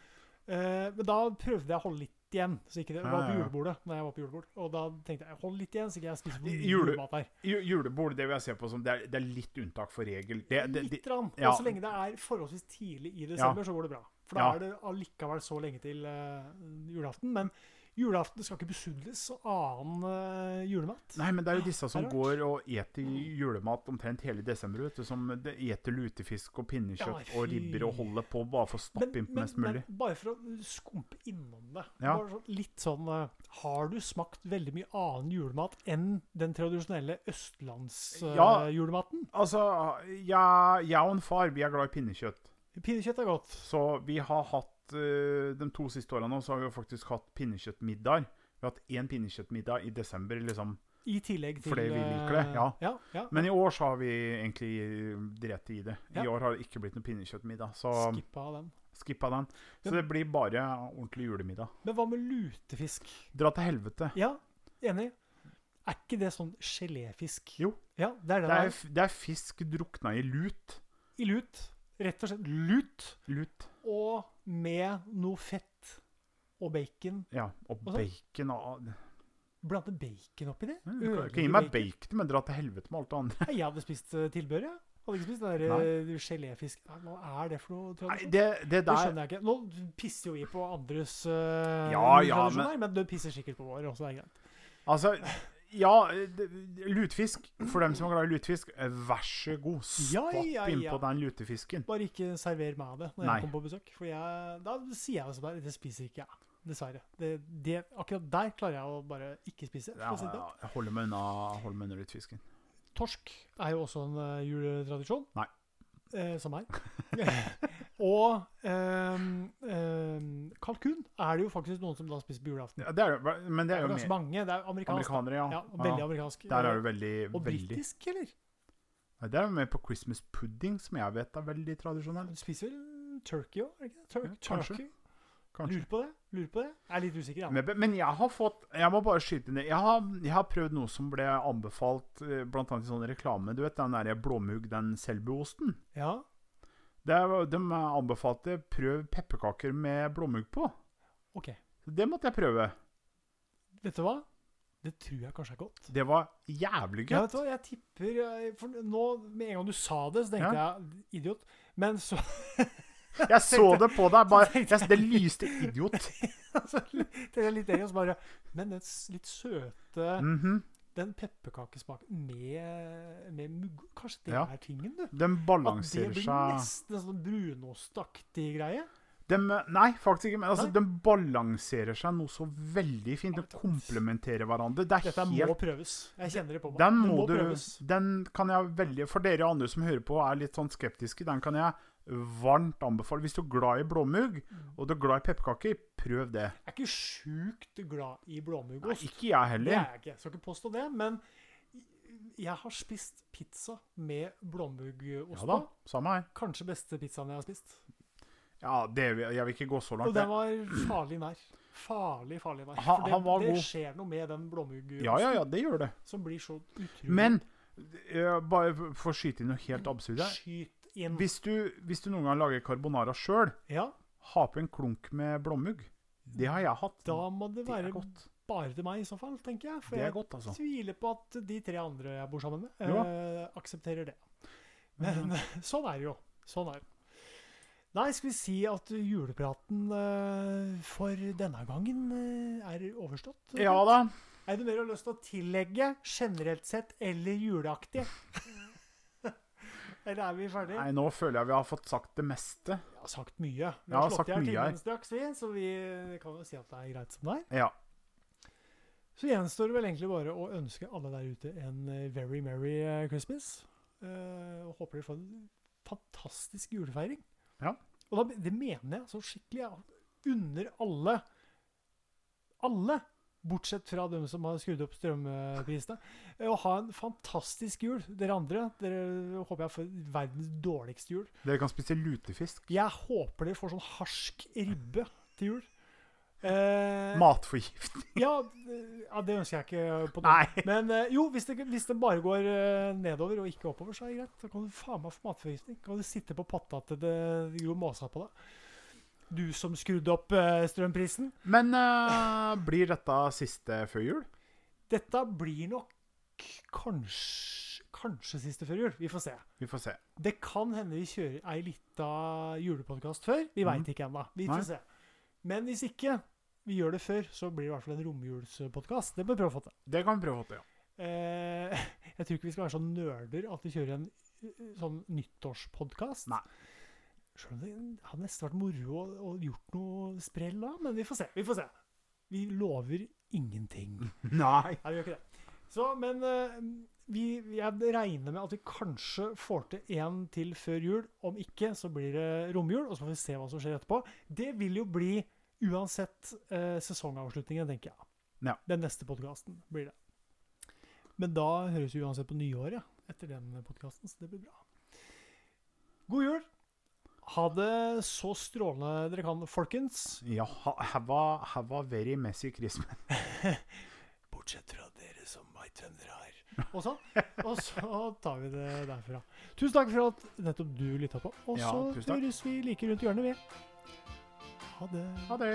Speaker 1: Eh, Men da prøvde jeg å holde litt igjen. Så ikke det jeg var på
Speaker 2: Ja, ja, ja.
Speaker 1: julebordet. Når jeg var på julebord. Og da tenkte jeg hold litt igjen, så ikke jeg spiser for mye
Speaker 2: Jule-
Speaker 1: julemat her.
Speaker 2: Ju- Julebord det vil jeg se på som det er, det er litt unntak for regel. Det, det, det,
Speaker 1: Litt. Rann.
Speaker 2: ja.
Speaker 1: Og så lenge det er forholdsvis tidlig i desember, så går det bra. For da
Speaker 2: Ja.
Speaker 1: er det allikevel så lenge til eh, julaften. Men julaften skal ikke besudles av annen eh, julemat.
Speaker 2: nei, men det er jo disse som
Speaker 1: Det er rart.
Speaker 2: går og eter julemat omtrent hele desember. Vet du, som det eter lutefisk og
Speaker 1: Ai,
Speaker 2: pinnekjøtt
Speaker 1: fy.
Speaker 2: og ribber og holder på bare for å
Speaker 1: Men,
Speaker 2: stappe inn på
Speaker 1: men,
Speaker 2: mest
Speaker 1: men
Speaker 2: mulig.
Speaker 1: bare for å skumpe innom det
Speaker 2: Ja.
Speaker 1: bare sånn, Litt sånn eh, Har du smakt veldig mye annen julemat enn den tradisjonelle eh,
Speaker 2: Ja.
Speaker 1: østlandsjulematen?
Speaker 2: Altså, jeg, jeg og en far vi er glad i pinnekjøtt.
Speaker 1: Pinnekjøtt er godt.
Speaker 2: Så vi har hatt eh, De to siste årene nå, så har vi jo faktisk hatt pinnekjøttmiddager. Vi har hatt én pinnekjøttmiddag i desember, liksom.
Speaker 1: I tillegg til
Speaker 2: For det vi liker det,
Speaker 1: eh,
Speaker 2: ja.
Speaker 1: ja, ja.
Speaker 2: Men i år så har vi egentlig drept i det. I
Speaker 1: Ja.
Speaker 2: år har det ikke blitt noen pinnekjøttmiddag, så
Speaker 1: Skippa den.
Speaker 2: skippa den. Så det blir bare ordentlig julemiddag.
Speaker 1: Men hva med lutefisk?
Speaker 2: Dra til helvete.
Speaker 1: Ja, enig. Er ikke det sånn geléfisk?
Speaker 2: Jo.
Speaker 1: Ja, det er det det
Speaker 2: Det er,
Speaker 1: er.
Speaker 2: det er fisk drukna i lut.
Speaker 1: I lut. Rett og slett lut.
Speaker 2: Lut.
Speaker 1: Og med noe fett og bacon.
Speaker 2: Ja, og
Speaker 1: Og så-
Speaker 2: bacon og
Speaker 1: Blande bacon oppi det?
Speaker 2: Mm, Du kan- kan
Speaker 1: Ødelegge
Speaker 2: gi meg bacon, men dra til helvete med alt det andre.
Speaker 1: Nei, jeg hadde spist eh, tilbehør, jeg. Hadde ikke spist den der eh, geléfisk. Nei, Hva er det for noe
Speaker 2: Nei,
Speaker 1: tradisjon? det,
Speaker 2: det, det der
Speaker 1: skjønner jeg ikke. Nå pisser jo vi på andres eh,
Speaker 2: Ja, ja,
Speaker 1: tradisjoner, men... du pisser sikkert på vår også, det er greit.
Speaker 2: Altså, ja det- Lutfisk, for dem som er glad i lutfisk, eh, vær så god.
Speaker 1: Ja,
Speaker 2: Stapp
Speaker 1: ja, ja.
Speaker 2: innpå den lutefisken.
Speaker 1: Bare ikke server meg det når
Speaker 2: Nei.
Speaker 1: jeg kommer på besøk. For jeg, da sier jeg det som det er. Det spiser ikke jeg. Dessverre. Det, det, akkurat der klarer jeg å bare ikke spise. for
Speaker 2: Ja,
Speaker 1: å si det.
Speaker 2: ja, jeg holder meg unna, holder meg unna lutefisken.
Speaker 1: Torsk er jo også en eh, juletradisjon.
Speaker 2: Nei.
Speaker 1: Eh, som meg. (laughs) og ehm, ehm, kalkun er det jo faktisk noen som da spiser på julaften.
Speaker 2: Ja, det er, jo- men
Speaker 1: Det
Speaker 2: det er
Speaker 1: er
Speaker 2: jo
Speaker 1: ganske
Speaker 2: mer
Speaker 1: mange. Det er amerikansk.
Speaker 2: amerikanere, ja.
Speaker 1: Ja,
Speaker 2: Ja.
Speaker 1: veldig amerikansk.
Speaker 2: Der er du veldig,
Speaker 1: og
Speaker 2: veldig
Speaker 1: britisk, eller?
Speaker 2: Nei, Det er jo mer på Christmas pudding, som jeg vet er veldig tradisjonell.
Speaker 1: Du spiser vel turkey òg, er det ikke? det? Tur
Speaker 2: Ja, kanskje.
Speaker 1: turkey.
Speaker 2: Kanskje.
Speaker 1: Lurer på det. Lurer på det. Jeg er litt usikker, ja.
Speaker 2: Men, men jeg har fått Jeg må bare skyte inn det. Jeg har, jeg har prøvd noe som ble anbefalt eh, blant annet i sånn reklame. Du vet den der blåmugg, den Selbu-osten?
Speaker 1: ja.
Speaker 2: Det er- De anbefalte 'prøv pepperkaker med blåmugg på'.
Speaker 1: OK.
Speaker 2: Så Det måtte jeg prøve.
Speaker 1: Vet du hva? Det tror jeg kanskje er godt.
Speaker 2: Det var jævlig
Speaker 1: Ja,
Speaker 2: gøy.
Speaker 1: vet du hva? Jeg tipper jeg- For nå, med en gang du sa det, så tenkte jeg idiot. Men så (laughs)
Speaker 2: Jeg så det på deg. Bare, jeg, det lyste idiot.
Speaker 1: Så tenkte jeg litt lenger, og så bare Men den s- litt søte
Speaker 2: Mhm.
Speaker 1: Den pepperkakesmaken med, med mugg Kanskje det
Speaker 2: Ja.
Speaker 1: er tingen, du?
Speaker 2: De
Speaker 1: At det
Speaker 2: balanserer
Speaker 1: blir
Speaker 2: seg
Speaker 1: nesten en sånn brunostaktig greie?
Speaker 2: De, nei, faktisk ikke. Men altså,
Speaker 1: Nei?
Speaker 2: de balanserer seg noe så veldig fint. De komplementerer hverandre. Det er
Speaker 1: Dette må
Speaker 2: helt
Speaker 1: prøves. Jeg kjenner det på meg.
Speaker 2: den
Speaker 1: Det
Speaker 2: må du,
Speaker 1: prøves.
Speaker 2: den kan jeg veldig For dere andre som hører på og er litt sånn skeptiske, den kan jeg varmt anbefale. Hvis du er glad i blåmugg
Speaker 1: Mm.
Speaker 2: og du er glad i pepperkaker, prøv det.
Speaker 1: Jeg er ikke sjukt glad i
Speaker 2: Nei,
Speaker 1: blåmuggost.
Speaker 2: ikke jeg
Speaker 1: Det er
Speaker 2: heller.
Speaker 1: jeg ikke. Jeg skal ikke påstå det. Men jeg har spist pizza med blåmuggost
Speaker 2: Ja
Speaker 1: på.
Speaker 2: da, samme her.
Speaker 1: Kanskje beste pizzaen jeg har spist.
Speaker 2: Ja, det, vil- jeg vil ikke gå så
Speaker 1: Og
Speaker 2: langt.
Speaker 1: den
Speaker 2: jeg.
Speaker 1: var farlig nær. Farlig, farlig nær.
Speaker 2: Ha-
Speaker 1: For det,
Speaker 2: han var
Speaker 1: det
Speaker 2: god.
Speaker 1: skjer noe med den blåmuggosten
Speaker 2: Ja, ja, ja, det gjør det.
Speaker 1: som blir så utrolig
Speaker 2: Men eh, bare for å skyte inn noe helt absurd her.
Speaker 1: Skyt inn.
Speaker 2: Hvis du, hvis du noen gang lager carbonara sjøl,
Speaker 1: Ja,
Speaker 2: ha på en klunk med blåmugg. Det har jeg hatt.
Speaker 1: da må det
Speaker 2: det er
Speaker 1: være
Speaker 2: godt.
Speaker 1: bare til meg i så fall, tenker jeg. For
Speaker 2: Det er
Speaker 1: jeg
Speaker 2: godt, altså.
Speaker 1: tviler på at de tre andre jeg bor sammen med,
Speaker 2: Jo.
Speaker 1: eh, aksepterer det. Men sånn er det jo. Sånn er det. Nei, skal vi si at julepraten eh, for denne gangen eh, er overstått?
Speaker 2: Ja da.
Speaker 1: Er det mer du har lyst til å tillegge generelt sett eller juleaktig?
Speaker 2: (laughs)
Speaker 1: eller er vi ferdige?
Speaker 2: Nei, nå føler jeg vi har fått sagt det meste.
Speaker 1: Jeg har sagt mye. Vi
Speaker 2: Jeg har
Speaker 1: har slått
Speaker 2: sagt
Speaker 1: i hjel
Speaker 2: mye her.
Speaker 1: timen straks, vi, så vi eh, kan jo si at det er greit som det er.
Speaker 2: Ja.
Speaker 1: Så gjenstår det vel egentlig bare å ønske alle der ute en eh, very merry eh, Christmas. Eh, og håper dere får en fantastisk julefeiring.
Speaker 2: Ja.
Speaker 1: Og da, det mener jeg så skikkelig. Jeg unner alle Alle, bortsett fra dem som har skrudd opp strømprisene, eh, å ha en fantastisk jul. Dere andre, dere håper jeg får verdens dårligste jul.
Speaker 2: Dere kan spise lutefisk.
Speaker 1: Jeg håper dere får sånn harsk ribbe til jul. Eh,
Speaker 2: Matforgift.
Speaker 1: (laughs) ja, d- ja, det ønsker jeg ikke på noe.
Speaker 2: Nei.
Speaker 1: Men eh, jo, hvis det, hvis det bare går eh, nedover og ikke oppover, så er det greit. Da kan du faen meg få matforgiftning. Kan du sitte på patta til det gror måsa på deg. Du som skrudde opp eh, strømprisen.
Speaker 2: Men eh, blir dette siste før jul?
Speaker 1: Dette blir nok kanskje, kanskje siste før jul. Vi får se.
Speaker 2: Vi får se.
Speaker 1: Det kan hende vi kjører ei lita julepodkast før. Vi
Speaker 2: Mhm.
Speaker 1: veit ikke ennå. Vi
Speaker 2: Nei.
Speaker 1: får se. Men hvis ikke vi gjør det før, så blir det i hvert fall en romjulspodkast. Det bør vi prøve å få til.
Speaker 2: Det kan vi prøve å få til, ja.
Speaker 1: Eh, (laughs) jeg tror ikke vi skal være så nerder at vi kjører en eh, sånn nyttårspodkast.
Speaker 2: Nei.
Speaker 1: Selv om det hadde nesten vært moro å, å gjort noe sprell da, men vi får se. Vi får se. Vi lover ingenting. Nei,
Speaker 2: Nei.
Speaker 1: vi gjør ikke det. Så, men eh, vi, jeg regner med at vi kanskje får til én til før jul. Om ikke, så blir det romjul, og så får vi se hva som skjer etterpå. Det vil jo bli uansett eh, sesongavslutningen, tenker jeg.
Speaker 2: Ja.
Speaker 1: Den neste podkasten blir det. Men da høres vi uansett på nyåret etter den podkasten, så det blir bra. God jul! Ha det så strålende dere kan, folkens.
Speaker 2: Ja, ha- have a, have a very messy Christmas.
Speaker 1: Bortsett fra dere som meg tønder her. (laughs) Og så, og så tar vi det derfra. Tusen takk for at nettopp du lytta på. Og
Speaker 2: Ja,
Speaker 1: så
Speaker 2: tusen takk.
Speaker 1: høres vi like rundt hjørnet, vi. Ha det.
Speaker 2: Ha det.